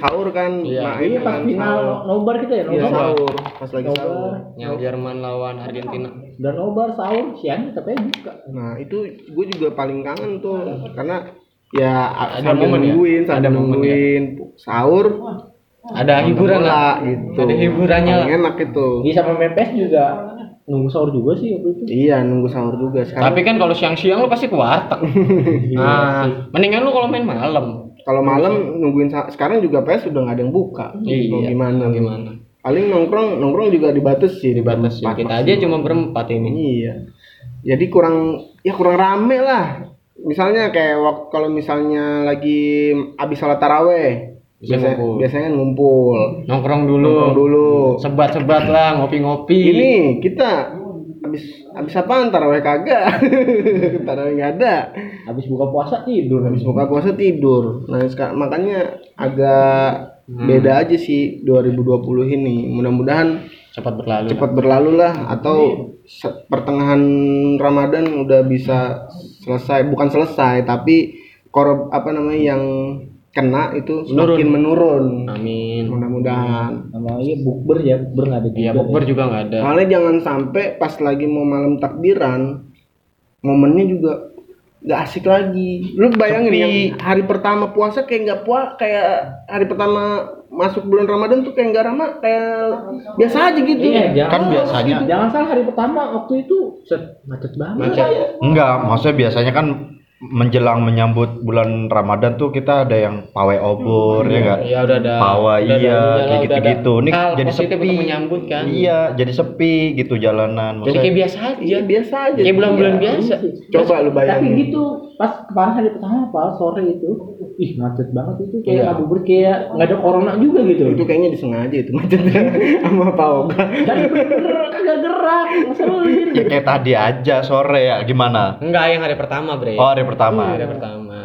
Speaker 3: sahur kan
Speaker 1: Iya.
Speaker 3: main
Speaker 2: ini pas
Speaker 3: kan
Speaker 2: final nobar kita ya
Speaker 3: Iya,
Speaker 2: nobar
Speaker 3: sahur. Pas lagi sahur.
Speaker 2: nobar
Speaker 1: Yang Jerman lawan Argentina.
Speaker 2: dan nobar sahur siang tapi buka
Speaker 3: Nah, itu gue juga paling kangen tuh karena ya
Speaker 1: Ada
Speaker 3: sambil
Speaker 1: momen ya?
Speaker 3: nungguin sambil
Speaker 1: Ada momen ya?
Speaker 3: nungguin sahur
Speaker 1: Ada hiburan lah.
Speaker 3: lah gitu
Speaker 1: Ada hiburannya Gitu.
Speaker 3: Paling enak itu
Speaker 2: Ini sama Mepes juga nunggu sahur juga sih waktu itu.
Speaker 3: iya nunggu sahur juga
Speaker 1: Tapi
Speaker 3: sekarang
Speaker 1: kan kalau siang-siang lu pasti ke warteg. nah, mendingan lu kalau main malam.
Speaker 3: kalau malam nungguin sa- sekarang juga PS udah nggak ada yang buka mau
Speaker 1: Iya.
Speaker 3: gimana
Speaker 1: Gimana?
Speaker 3: paling nongkrong nongkrong juga dibatasi
Speaker 1: Dibatasi.
Speaker 3: Empat
Speaker 1: Kita
Speaker 3: maksimal.
Speaker 1: aja cuma berempat ini.
Speaker 3: Iya. Jadi kurang ya kurang rame lah. Misalnya kayak waktu kalau misalnya lagi abis sholat taraweh, biasanya,
Speaker 1: ngumpul.
Speaker 3: biasanya ngumpul.
Speaker 1: Nongkrong
Speaker 3: Nongkrong
Speaker 1: dulu.
Speaker 3: dulu.
Speaker 1: Sebat-sebat lah, ngopi-ngopi.
Speaker 3: Ini kita abis abis apaan taraweh kagak, taraweh nggak ada.
Speaker 2: Habis buka puasa tidur habis
Speaker 3: Buka
Speaker 2: buka.
Speaker 3: puasa tidur. Nah seka- makanya agak
Speaker 1: Hmm.
Speaker 3: beda aja sih 2020 ini. Mudah-mudahan
Speaker 1: cepat berlalu.
Speaker 3: cepat berlalu lah atau se- pertengahan Ramadan udah bisa selesai bukan selesai tapi korob apa namanya yang kena itu semakin menurun
Speaker 1: Amin.
Speaker 3: mudah-mudahan
Speaker 2: Namanya bukber ya, bukber nggak ada juga.
Speaker 1: Iya, bukber juga nggak ada.
Speaker 3: soalnya jangan sampai pas lagi mau malam takbiran momennya juga nggak asik lagi lu bayangin
Speaker 1: Sepi.
Speaker 3: yang hari pertama puasa kayak nggak puas kayak hari pertama masuk bulan Ramadan tuh kayak nggak ramah kayak biasa aja gitu
Speaker 2: Iya, jangan,
Speaker 4: Kan biasanya
Speaker 2: jangan salah hari pertama waktu itu set, macet banget.
Speaker 1: Macet.
Speaker 4: Enggak, maksudnya biasanya kan menjelang menyambut bulan Ramadan tuh kita ada yang pawai obor ya enggak?
Speaker 1: Iya, udah ada.
Speaker 4: Pawa
Speaker 1: Udah ada, udah
Speaker 4: iya,
Speaker 1: ada,
Speaker 4: kayak
Speaker 1: udah ada.
Speaker 4: gitu-gitu. Ini
Speaker 1: Hal
Speaker 4: jadi
Speaker 1: positif
Speaker 4: sepi.
Speaker 1: untuk menyambut kan.
Speaker 4: Iya, jadi sepi gitu jalanan.
Speaker 1: Jadi kayak
Speaker 4: Maksudnya,
Speaker 1: biasa aja.
Speaker 3: Iya, biasa aja
Speaker 1: Kayak bulan-bulan
Speaker 3: Iya.
Speaker 1: biasa.
Speaker 3: Coba lu
Speaker 2: Tapi
Speaker 3: bayangin.
Speaker 2: gitu, pas kemarin hari pertama apa sore itu, ih macet banget itu
Speaker 1: Iya.
Speaker 2: kayak ngabuburit kayak nggak ada corona juga gitu.
Speaker 3: itu kayaknya disengaja itu macetnya sama Pak Oga
Speaker 2: Dan bener-bener kagak gerak, ngeselin.
Speaker 4: ya
Speaker 1: gitu.
Speaker 4: kayak tadi aja sore ya gimana?
Speaker 1: Enggak, yang hari pertama, Bre. Iya,
Speaker 4: Oh, hari pertama.
Speaker 1: Hari pertama.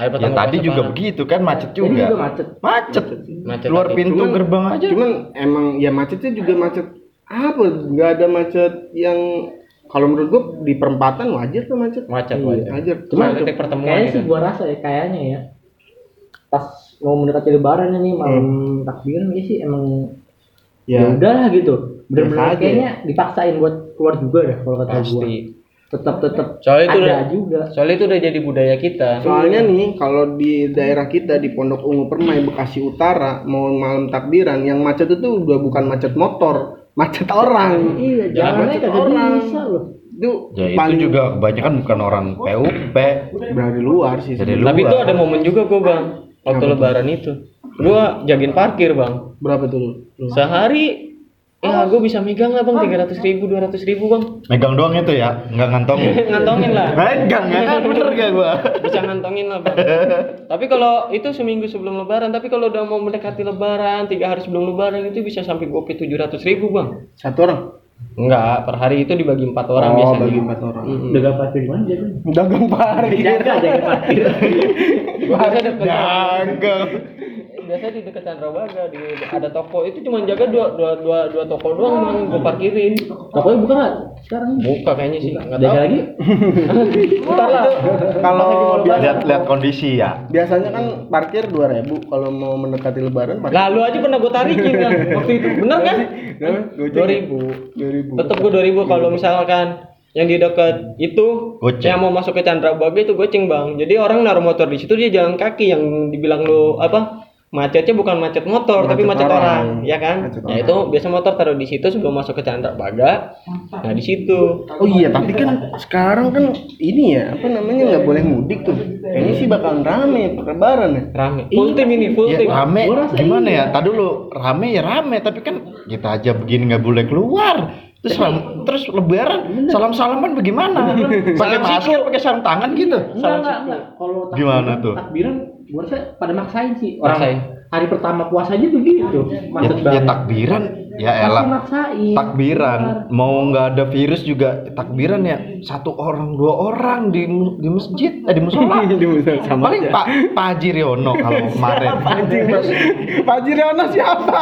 Speaker 1: Hari
Speaker 4: Ya
Speaker 1: pertama.
Speaker 4: tadi
Speaker 1: puasa
Speaker 4: juga
Speaker 1: parah.
Speaker 4: begitu kan macet
Speaker 2: Ini juga
Speaker 4: juga.
Speaker 2: macet.
Speaker 4: Macet.
Speaker 1: Macet
Speaker 4: Keluar
Speaker 1: tapi-
Speaker 4: pintu
Speaker 3: Cuman-
Speaker 4: gerbang aja.
Speaker 3: cuman emang ya macetnya juga macet apa nggak ada macet yang kalau menurut gua di perempatan wajar tuh macet
Speaker 1: macet
Speaker 3: Iya,
Speaker 1: wajar.
Speaker 3: wajar
Speaker 1: Cuma
Speaker 3: Cuman
Speaker 1: titik pertemuan
Speaker 2: Kayaknya
Speaker 1: ya
Speaker 2: sih
Speaker 1: kan?
Speaker 2: gua rasa ya kayaknya ya. Pas mau mendekati lebaran ini malam takbiran ya sih emang ya
Speaker 3: ya
Speaker 2: udahlah gitu.
Speaker 3: Biasa
Speaker 2: Bener-bener
Speaker 3: aja.
Speaker 2: kayaknya dipaksain buat keluar juga dah kalau kata gua.
Speaker 1: Pasti.
Speaker 2: Tetap tetap
Speaker 1: Soalnya itu
Speaker 2: ada
Speaker 1: udah-
Speaker 2: juga.
Speaker 1: Soalnya itu udah jadi budaya kita.
Speaker 3: soalnya nih kalau di daerah kita di Pondok Ungu Permai Bekasi Utara mau malam takbiran yang macet itu udah bukan macet motor macet orang
Speaker 2: Iya, jalannya
Speaker 3: macet
Speaker 2: kagak
Speaker 3: orang.
Speaker 2: bisa loh.
Speaker 3: itu
Speaker 4: Ya itu
Speaker 3: paling
Speaker 4: juga kebanyakan bukan orang PUP
Speaker 3: dari luar sih
Speaker 4: dari luar.
Speaker 1: Tapi itu ada momen juga gua, Bang. Waktu lebaran itu. Gua jagain parkir, Bang.
Speaker 3: berapa tuh lu?
Speaker 1: Sehari ya gua bisa megang lah, Bang, 300 ribu, 200 ribu, Bang.
Speaker 4: megang doang itu ya, nggak ngantongin.
Speaker 1: Ngantongin lah.
Speaker 4: Megang ya kan bener gak gua?
Speaker 1: Bisa ngantongin lah, Bang. tapi kalau itu seminggu sebelum lebaran, tapi kalau udah mau mendekati lebaran, tiga hari sebelum lebaran itu bisa sampai gopay 700 ribu, Bang.
Speaker 3: satu orang
Speaker 1: Enggak, per hari itu dibagi empat orang Hmm.
Speaker 3: oh,
Speaker 1: biasanya.
Speaker 3: bagi empat orang
Speaker 2: Udah gak parkir di mana jalan?
Speaker 3: dagang parkir
Speaker 2: Jaga jaga parkir.
Speaker 1: Biasa deket,
Speaker 4: Dagang.
Speaker 1: biasa di dekat Candrabaga di ada toko itu cuma jaga dua dua dua dua toko doang bang gue parkirin.
Speaker 2: Pokoknya buka nggak sekarang?
Speaker 1: Buka kayaknya sih nggak
Speaker 2: Jaga
Speaker 1: tahu.
Speaker 2: lagi?
Speaker 1: Ntar lah.
Speaker 3: kalau
Speaker 4: Lihat lihat kondisi ya.
Speaker 3: biasanya kan parkir 2000 kalau mau mendekati lebaran parkir
Speaker 1: Lalu aja pernah gue tarikin kan waktu itu bener kan? Dua ribu.
Speaker 3: 2000
Speaker 1: Tetap gue dua ribu kalau misalkan yang di dekat itu
Speaker 4: Goceng.
Speaker 1: yang mau masuk ke Candrabaga itu goceng bang. Jadi orang naruh motor di situ dia jalan kaki yang dibilang lu apa? Macetnya bukan macet motor tapi macet
Speaker 3: Macet orang.
Speaker 1: orang, ya kan?
Speaker 3: Macet
Speaker 1: Nah itu biasa motor taruh di situ sebelum masuk ke Candrabaga. Nah di situ
Speaker 3: oh iya tapi kan sekarang kan ini ya apa namanya nggak boleh mudik tuh kayaknya sih bakalan rame lebaran ya
Speaker 1: rame.
Speaker 2: Iya.
Speaker 1: Full tim ini full
Speaker 4: Ya
Speaker 1: tim.
Speaker 4: rame
Speaker 2: Gua rasa
Speaker 4: gimana ya? Tadi dulu rame ya rame tapi kan kita aja begini nggak boleh keluar. Terus ram- terus lebaran salam-salaman bagaimana? Pakai masker, pakai sarung tangan gitu.
Speaker 2: Enggak, enggak, enggak. Kalau takbiran-
Speaker 4: Gimana tuh?
Speaker 2: Takbiran gua rasa pada maksain sih. Orang
Speaker 1: Maksain.
Speaker 2: hari pertama puasa aja begitu.
Speaker 4: Ya, ya
Speaker 2: Macet banget.
Speaker 4: takbiran ya
Speaker 2: Pasti
Speaker 4: elah.
Speaker 2: maksain.
Speaker 4: Takbiran mau nggak ada virus juga takbiran ya satu orang dua orang di di masjid eh, di musola
Speaker 3: sama
Speaker 4: paling Pak Pak Haji Riono kalau kemarin
Speaker 3: Pak Jiriono siapa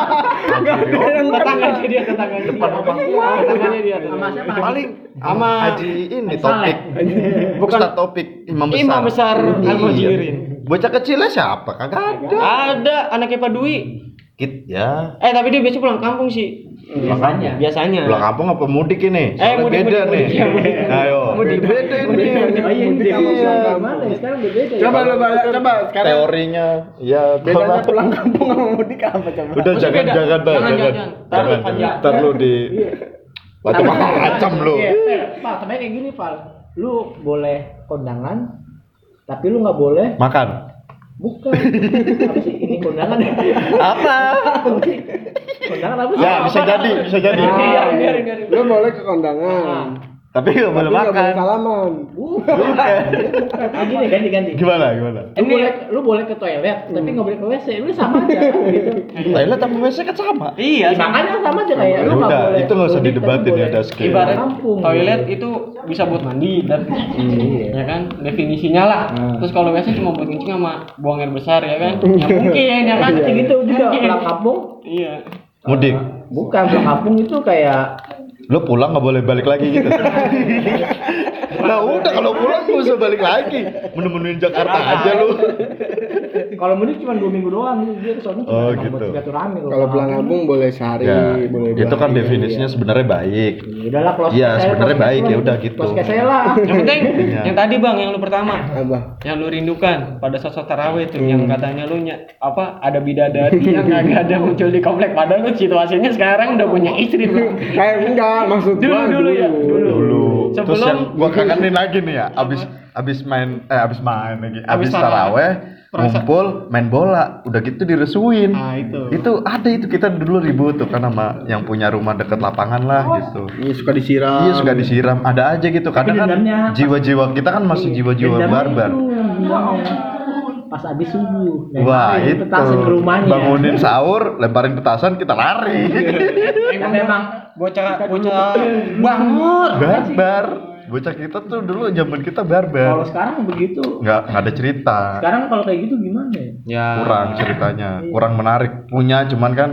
Speaker 3: nggak ada yang
Speaker 1: tetangganya dia tetangganya
Speaker 4: depan
Speaker 1: dia.
Speaker 4: rumah
Speaker 1: tetangganya dia
Speaker 2: Sama
Speaker 1: tetangganya.
Speaker 2: siapa?
Speaker 4: paling sama
Speaker 1: Sama-
Speaker 4: Haji ini
Speaker 2: Saleh.
Speaker 4: topik bukan topik imam besar
Speaker 1: Imam besar
Speaker 4: Iya.
Speaker 1: Al-Muhajirin.
Speaker 4: bocah kecilnya siapa kagak ada
Speaker 1: Ada anaknya Pak Dwi.
Speaker 4: kit ya
Speaker 1: Eh tapi dia biasa pulang kampung sih.
Speaker 2: Makanya.
Speaker 1: biasanya
Speaker 4: Pulang kampung apa mudik
Speaker 1: Eh,
Speaker 4: ini? Soalnya
Speaker 1: mudik, mudik,
Speaker 4: beda nih.
Speaker 1: mudik, ya, mudik.
Speaker 4: Ayo.
Speaker 1: Mudik.
Speaker 4: Beda ini.
Speaker 2: Oh iya,
Speaker 3: Mudik sama
Speaker 2: iya.
Speaker 3: pulang
Speaker 2: Gimana
Speaker 3: kampung.
Speaker 2: ya? Sekarang udah beda ya.
Speaker 3: Coba coba coba sekarang
Speaker 4: Teorinya ya
Speaker 3: bedanya
Speaker 4: apa?
Speaker 3: pulang kampung sama mudik apa coba?
Speaker 4: Udah
Speaker 1: Maksudnya
Speaker 4: jangan
Speaker 1: beda.
Speaker 4: jangan Bang,
Speaker 1: Jangan,
Speaker 4: jangan.
Speaker 1: jangan. Ntar
Speaker 4: Jangan.
Speaker 1: lu
Speaker 4: jangan. Ntar lu di Batu macam lu.
Speaker 2: Iya, iya. Pak, tapi kayak gini, Pak. Lu boleh kondangan, tapi lu nggak boleh
Speaker 4: Makan.
Speaker 2: bukan. Apa sih ini kondangan ya?
Speaker 4: Apa?
Speaker 2: Kondangan apa sih?
Speaker 4: Ya bisa jadi, bisa jadi.
Speaker 2: Iya, iya, iya.
Speaker 3: Lu boleh ke
Speaker 2: Nah,
Speaker 3: kondangan.
Speaker 4: Tapi nggak boleh
Speaker 3: Tapi nggak
Speaker 4: makan.
Speaker 3: boleh salaman.
Speaker 4: Bukan.
Speaker 2: Nah, gini ganti ganti.
Speaker 4: Gimana gimana?
Speaker 2: Lu boleh
Speaker 4: ya-
Speaker 2: lu boleh ke toilet,
Speaker 4: Hmm.
Speaker 2: tapi nggak boleh ke WC. Lu sama aja kan, gitu.
Speaker 4: Toilet sama WC kan Iya, sama.
Speaker 1: iya
Speaker 2: Ya,
Speaker 1: sama.
Speaker 2: makanya sama aja kayak
Speaker 4: Ya
Speaker 2: lu nggak
Speaker 4: udah,
Speaker 2: boleh.
Speaker 4: itu nggak usah
Speaker 2: mudik, tapi
Speaker 4: didebatin ya,
Speaker 2: boleh
Speaker 4: Daske.
Speaker 1: ibarat
Speaker 2: Kampung. Iya.
Speaker 1: toilet itu bisa buat mandi dan ya kan definisinya lah
Speaker 4: Hmm.
Speaker 1: terus kalau biasa cuma buat kencing sama buang air besar ya kan ya mungkin ya
Speaker 4: Iya,
Speaker 1: kan
Speaker 2: Kayak gitu juga
Speaker 1: Mungkin.
Speaker 2: pulang kampung.
Speaker 1: iya
Speaker 4: Mudik.
Speaker 2: Bukan pulang kampung itu kayak
Speaker 4: Lu pulang nggak boleh balik lagi gitu. nah udah kalau pulang nggak usah balik lagi. Menu-menuin Jakarta aja lu.
Speaker 2: kalau mudik cuma dua minggu doang gitu dia soalnya cuma
Speaker 4: Oh,
Speaker 2: emang
Speaker 4: gitu.
Speaker 2: buat silaturahmi
Speaker 3: Kalau pulang kampung boleh sehari,
Speaker 4: Ya,
Speaker 3: boleh
Speaker 4: itu
Speaker 3: dua
Speaker 4: kan
Speaker 3: hari.
Speaker 4: definisinya sebenarnya baik.
Speaker 2: Ya udahlah close
Speaker 4: Iya,
Speaker 2: case aja,
Speaker 4: sebenarnya
Speaker 2: close
Speaker 4: baik, ya
Speaker 2: case lah.
Speaker 4: udah gitu.
Speaker 2: Close case aja lah.
Speaker 1: yang penting
Speaker 4: Iya.
Speaker 1: yang tadi bang yang lu pertama
Speaker 3: ya. Apa?
Speaker 1: yang lu rindukan pada sosok taraweh tuh yang
Speaker 4: Hmm.
Speaker 1: katanya lu ny- apa ada bidadari yang agak ada muncul di komplek padahal lu situasinya sekarang udah punya istri bro
Speaker 3: Kayak Eh, enggak maksud
Speaker 1: Dulu,
Speaker 3: gua
Speaker 1: dulu ya, dulu.
Speaker 4: dulu
Speaker 1: Sebelum-
Speaker 4: terus yang gua kangenin lagi nih ya abis abis main eh abis main lagi abis,
Speaker 1: Abis
Speaker 4: taraweh
Speaker 1: Perasa-
Speaker 4: ngumpul main bola udah gitu diresuin
Speaker 1: Nah, itu.
Speaker 4: itu ada itu kita dulu ribut tuh kan sama yang punya rumah deket lapangan lah gitu
Speaker 3: Iya suka disiram.
Speaker 4: Iya suka disiram, ada aja gitu. Kadang kan
Speaker 2: dendamnya apa?
Speaker 4: jiwa-jiwa kita kan masih jiwa-jiwa
Speaker 2: Dendam
Speaker 4: barbar.
Speaker 2: itu yang
Speaker 1: Ya
Speaker 2: bilangnya. Pas abis subuh. Nah,
Speaker 4: Wah
Speaker 2: itu
Speaker 4: itu,
Speaker 2: petasan ke rumahnya.
Speaker 4: bangunin sahur, lemparin petasan, kita lari.
Speaker 2: Tapi emang
Speaker 1: bocah bocah bangor
Speaker 4: barbar, bocah kita tuh dulu zaman kita
Speaker 2: kalau
Speaker 4: barbar.
Speaker 2: sekarang begitu,
Speaker 4: Nggak nggak ada cerita.
Speaker 2: sekarang kalau kayak gitu gimana ya?
Speaker 1: ya
Speaker 4: kurang ceritanya kurang menarik punya cuman kan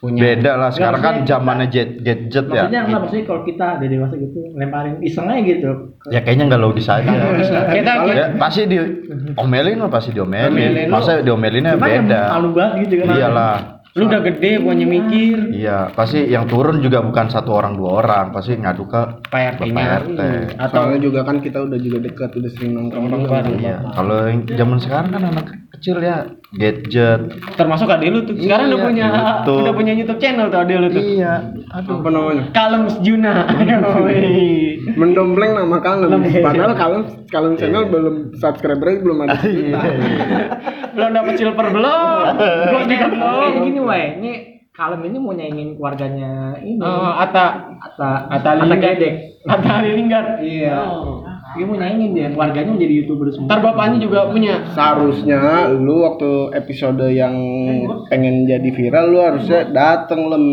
Speaker 1: Punya.
Speaker 4: beda lah sekarang kan
Speaker 2: maksudnya-
Speaker 4: zamannya jet- gadget ya
Speaker 2: Maksudnya enggak maksudnya kalau kita udah dewasa gitu lemparin iseng aja gitu.
Speaker 4: ya kayaknya nggak logis aja
Speaker 1: kita
Speaker 4: ya, pasti di omelin lah pasti
Speaker 1: Omelin lu.
Speaker 4: diomelin masa diomelinnya
Speaker 2: Cuman yang
Speaker 4: beda
Speaker 2: malu banget gitu kan.
Speaker 4: iyalah
Speaker 1: lu udah gede punya mikir
Speaker 4: iya pasti yang turun juga bukan satu orang dua orang pasti ngadu ke
Speaker 1: Pak RT -nya.
Speaker 4: PRT
Speaker 3: Atau Soalnya juga kan kita udah juga dekat, udah sering nongkrong bareng.
Speaker 4: iya kalau yang zaman sekarang kan anak kecil ya gadget
Speaker 1: termasuk adik lu tuh sekarang udah
Speaker 4: Iya,
Speaker 1: punya
Speaker 4: YouTube.
Speaker 1: udah punya YouTube channel tuh adik lu tuh
Speaker 4: iya
Speaker 3: Apa namanya?
Speaker 1: Kalem Juna Yoi.
Speaker 3: Mendompleng nama Kalem. Padahal Kalem Kalem
Speaker 4: Iya.
Speaker 3: channel belum subscribernya belum ada.
Speaker 1: belum dapat silver belum belum juga belum
Speaker 2: Kayak
Speaker 4: Iya.
Speaker 2: gini wae, ini Kalem ini mau nyaingin keluarganya ini.
Speaker 1: Eh, Ata
Speaker 2: Ata
Speaker 1: Ata
Speaker 2: Ata
Speaker 1: Linggar
Speaker 2: Gedek.
Speaker 1: Ata Linggar
Speaker 2: Iya. Dia mau nyaingin dia keluarganya menjadi YouTuber semua.
Speaker 1: ntar bapaknya juga punya
Speaker 3: Seharusnya lu waktu episode yang pengen jadi viral lu harusnya dateng lem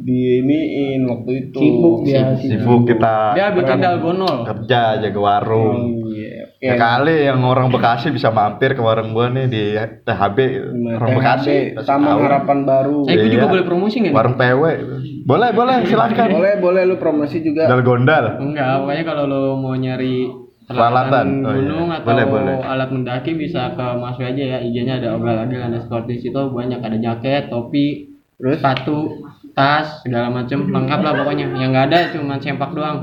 Speaker 3: di iniin waktu itu.
Speaker 2: Sibuk dia,
Speaker 4: Iya, sibuk kita
Speaker 1: dia bikin
Speaker 4: Iya.
Speaker 1: dalgonol
Speaker 4: kerja jaga warung
Speaker 3: Iya.
Speaker 4: Ya kali yang orang Bekasi bisa mampir ke warung gua nih di THB gitu.
Speaker 3: Iya,
Speaker 4: Orang Bekasi
Speaker 3: THB,
Speaker 4: pasti
Speaker 3: Taman
Speaker 4: tahu.
Speaker 3: Harapan Baru.
Speaker 1: eh gue juga
Speaker 4: Iya.
Speaker 1: boleh promosi nggak nih?
Speaker 4: Warung PW. Boleh, boleh, silahkan
Speaker 3: Boleh boleh lu promosi juga.
Speaker 4: Dal gondal.
Speaker 1: enggak pokoknya kalau lo mau nyari
Speaker 4: Peralatan.
Speaker 1: peralatan
Speaker 4: Oh, iya.
Speaker 1: gunung atau
Speaker 4: Boleh, boleh.
Speaker 1: alat mendaki bisa ke Mas Wei aja ya IG-nya ada ogal-ogal ada di situ banyak ada jaket topi
Speaker 3: Terus
Speaker 1: sepatu tas segala macem lengkap lah pokoknya yang nggak ada cuma sempak doang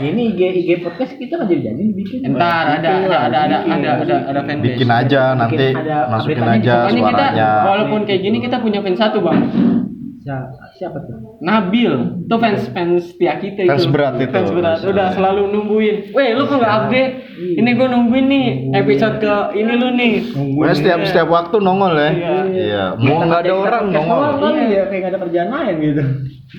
Speaker 2: Ini IG IG podcast kita nggak jadi jadi dibikin. Iya,
Speaker 1: entar ada ada ada ada ada ada ada fanbase
Speaker 4: Bikin aja
Speaker 2: Bikin
Speaker 4: nanti
Speaker 2: ada
Speaker 4: masukin
Speaker 2: update-nya
Speaker 4: aja
Speaker 1: Pokoknya kita
Speaker 4: suaranya.
Speaker 1: walaupun kayak gini kita punya fans satu bang
Speaker 2: Siapa, siapa tuh?
Speaker 1: Nabil itu fans fans setia kita itu
Speaker 4: Fans berat itu.
Speaker 1: fans berat udah selalu nungguin weh lu kok nggak update ini gue nungguin nih episode ke ini lu nih
Speaker 3: Iya.
Speaker 4: Pokoknya setiap setiap waktu nongol ya. Iya. Mau nggak ada orang nongol.
Speaker 2: Doang kan ya kayak nggak ada kerjaan lain gitu.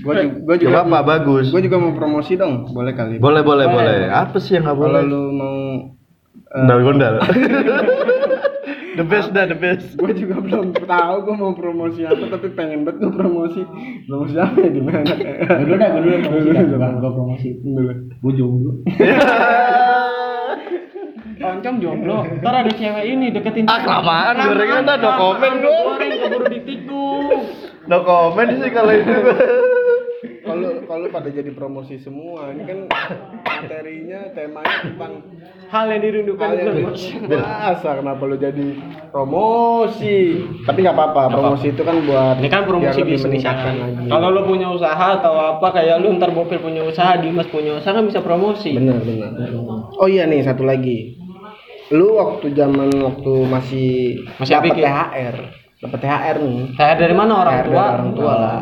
Speaker 3: gua ju- gua juga
Speaker 4: Coba Pak bagus.
Speaker 3: gua juga mau promosi dong, boleh kali.
Speaker 4: Boleh, boleh, boleh. Apa sih yang nggak
Speaker 3: Kalau
Speaker 4: boleh?
Speaker 3: lu eh, mau
Speaker 4: Dal gondal. The best dah, the best.
Speaker 3: gue juga belum tahu gue mau promosi apa tapi pengen banget gue promosi promosi apa ya gimana
Speaker 2: Gua dulu dah, gue dulu promosi dah. Gua- gua promosi. Gue jomblo.
Speaker 1: oncom jomblo ntar ada cewek ini deketin
Speaker 4: Ah, kelamaan gorengan dah, no comment gua.
Speaker 1: goreng keburu ditikung
Speaker 4: No comment sih kalau itu.
Speaker 3: kalau kalau pada jadi promosi semua. Ini kan materinya, temanya tentang
Speaker 1: Hal yang dirindukan
Speaker 2: kan
Speaker 3: hal yang
Speaker 1: belum.
Speaker 3: masa kenapa lu jadi promosi? Tapi nggak apa-apa, promosi itu kan buat
Speaker 1: Ini kan promosi
Speaker 3: biar lebih
Speaker 2: ya.
Speaker 1: bisnis
Speaker 3: meningkatkan
Speaker 1: kan.
Speaker 3: lagi.
Speaker 1: Kalau lo punya usaha atau apa kayak lu ntar Bopil punya usaha, Dimas punya usaha kan bisa promosi.
Speaker 3: benar benar. Oh iya nih satu lagi. Lu waktu zaman waktu masih
Speaker 1: Masih
Speaker 3: dapat
Speaker 1: APK.
Speaker 3: THR, dapat THR nih.
Speaker 1: Saya dari mana orang
Speaker 3: THR
Speaker 1: tua?
Speaker 3: dari orang tua lah.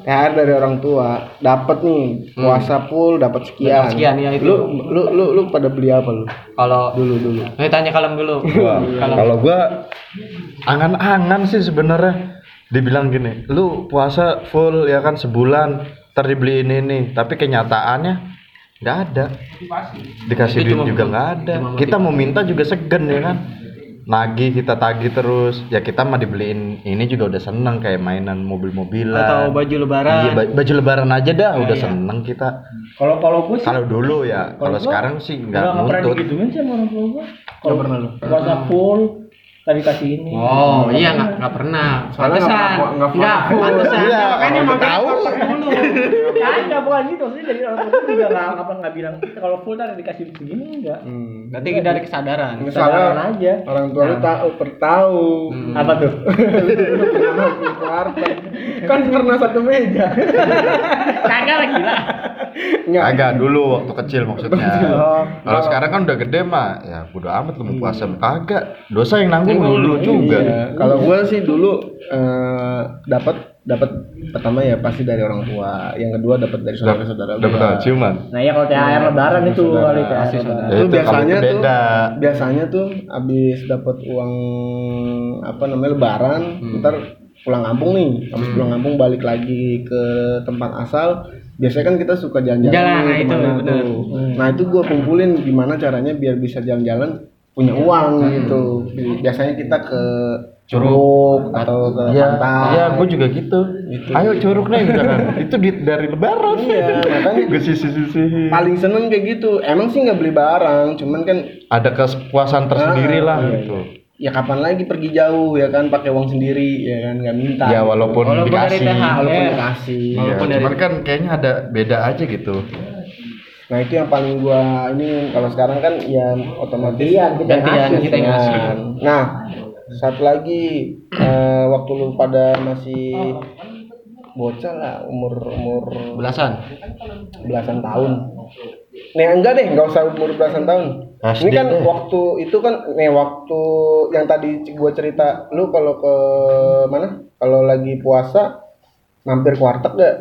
Speaker 3: THR dari orang tua, dapat nih puasa full dapat sekian.
Speaker 1: Dapat Hmm. sekian, ya itu.
Speaker 3: Lu lu lu lu pada beli apa lu?
Speaker 1: Kalau
Speaker 3: Dulu dulu.
Speaker 1: Nih tanya kalem dulu.
Speaker 4: Wah,
Speaker 1: Kalem.
Speaker 4: Iya. kalau gua angan-angan sih sebenarnya dibilang gini, lu puasa full ya kan sebulan ntar dibeliin ini, tapi kenyataannya nggak ada. Dikasih
Speaker 1: Itu
Speaker 4: duit
Speaker 1: cuma-
Speaker 4: juga nggak ada.
Speaker 1: cuma
Speaker 4: Kita mau minta juga segen ya kan. Nagih kita tagih terus, ya kita mah dibeliin ini juga udah seneng kayak mainan mobil-mobilan.
Speaker 1: atau baju lebaran.
Speaker 4: Iya, ba- baju lebaran aja dah, udah
Speaker 1: iya.
Speaker 4: seneng kita.
Speaker 2: Kalau kalau gue sih
Speaker 4: Kalau dulu ya,
Speaker 2: Kalau
Speaker 4: kalau
Speaker 2: gua
Speaker 4: sekarang sih nggak
Speaker 2: nggak pernah
Speaker 4: nuntut.
Speaker 1: gitu.
Speaker 2: digituin sih sama orang tua gue. Kalau pernah lu. Puasa full tadi kasih ini.
Speaker 1: Oh iya nggak nggak pernah.
Speaker 3: Soalnya nggak
Speaker 1: Pantesan.
Speaker 3: pernah- nggak pernah.
Speaker 1: Nggak pantesan.
Speaker 4: Iya,
Speaker 1: Makanya
Speaker 4: kalau
Speaker 1: makanya
Speaker 4: tahu.
Speaker 1: kotor dulu.
Speaker 2: Enggak bukan gitu maksudnya dari orang tua gua juga nggak apa nggak bilang kalau full tadi dikasih segini enggak.
Speaker 3: Hmm.
Speaker 1: Nanti dari kesadaran.
Speaker 2: Sadaran
Speaker 3: Misalnya
Speaker 2: aja.
Speaker 3: orang tua
Speaker 1: Nah.
Speaker 3: lu tahu per tahu.
Speaker 1: Hmm.
Speaker 2: Apa tuh?
Speaker 3: Lu pernah makan di warteg. kan pernah satu meja.
Speaker 2: Kagak lagi lah.
Speaker 3: Nggak.
Speaker 4: Agak dulu waktu kecil maksudnya.
Speaker 3: Oh.
Speaker 4: Kalau sekarang kan udah gede mah, ya bodo amat lu mau puasa mau kagak. Dosa yang nanggung
Speaker 1: Nanggung
Speaker 4: dulu
Speaker 1: lu,
Speaker 4: juga.
Speaker 3: Iya. Kalau gue sih dulu eh, dapat dapat pertama ya pasti dari orang tua, yang kedua dapat dari saudara saudara gue.
Speaker 4: Dapat tahu ciuman.
Speaker 2: Nah ya kalau THR lebaran itu
Speaker 3: Saudara.
Speaker 2: kali THR lebaran.
Speaker 4: Ya,
Speaker 3: Itu
Speaker 4: itu
Speaker 3: biasanya
Speaker 4: kalau itu
Speaker 3: Nah, tuh
Speaker 4: beda.
Speaker 3: biasanya tuh abis dapat uang apa namanya lebaran,
Speaker 4: Hmm.
Speaker 3: ntar pulang kampung nih, habis pulang kampung balik lagi ke tempat asal. Biasanya kan kita suka jalan-jalan.
Speaker 1: Jalan,
Speaker 3: nih,
Speaker 1: nah itu, Hmm.
Speaker 3: kemana
Speaker 1: bener.
Speaker 3: tuh. Nah itu gue kumpulin gimana caranya biar bisa jalan-jalan punya
Speaker 1: Hmm.
Speaker 3: uang
Speaker 4: Hmm.
Speaker 3: gitu. Biasanya kita ke Curug atau ke
Speaker 4: Iya,
Speaker 3: pantai.
Speaker 4: iya gue juga gitu. Ayo curug nih misalkan. itu duit dari lebaran.
Speaker 3: Iya, makanya.
Speaker 4: gue sisi-sisi.
Speaker 3: paling seneng kayak gitu emang sih nggak beli barang cuman kan
Speaker 4: Ada kepuasan tersendiri lah gitu.
Speaker 3: ya kapan lagi pergi jauh ya kan pakai uang sendiri ya kan nggak minta
Speaker 4: Ya walaupun,
Speaker 1: Walaupun dari
Speaker 4: dikasih.
Speaker 1: THR.
Speaker 3: walaupun
Speaker 1: Iya.
Speaker 3: dikasih
Speaker 4: Iya,
Speaker 1: Walaupun dari-
Speaker 4: cuman kan kayaknya ada beda aja gitu.
Speaker 3: nah itu yang paling gua ini kalau sekarang kan ya otomatis
Speaker 2: kita yang
Speaker 1: Gantian,
Speaker 2: ngasih.
Speaker 1: kita yang ngasih.
Speaker 3: Nah, nah satu lagi eh, waktu lu pada masih bocah lah umur umur
Speaker 1: Belasan.
Speaker 3: belasan tahun Nih enggak deh, nggak usah umur belasan tahun.
Speaker 4: SD
Speaker 3: Ini kan
Speaker 4: deh.
Speaker 3: waktu itu kan nih waktu yang tadi c- gua cerita lu kalau ke mana? Kalau lagi puasa mampir ke warteg gak?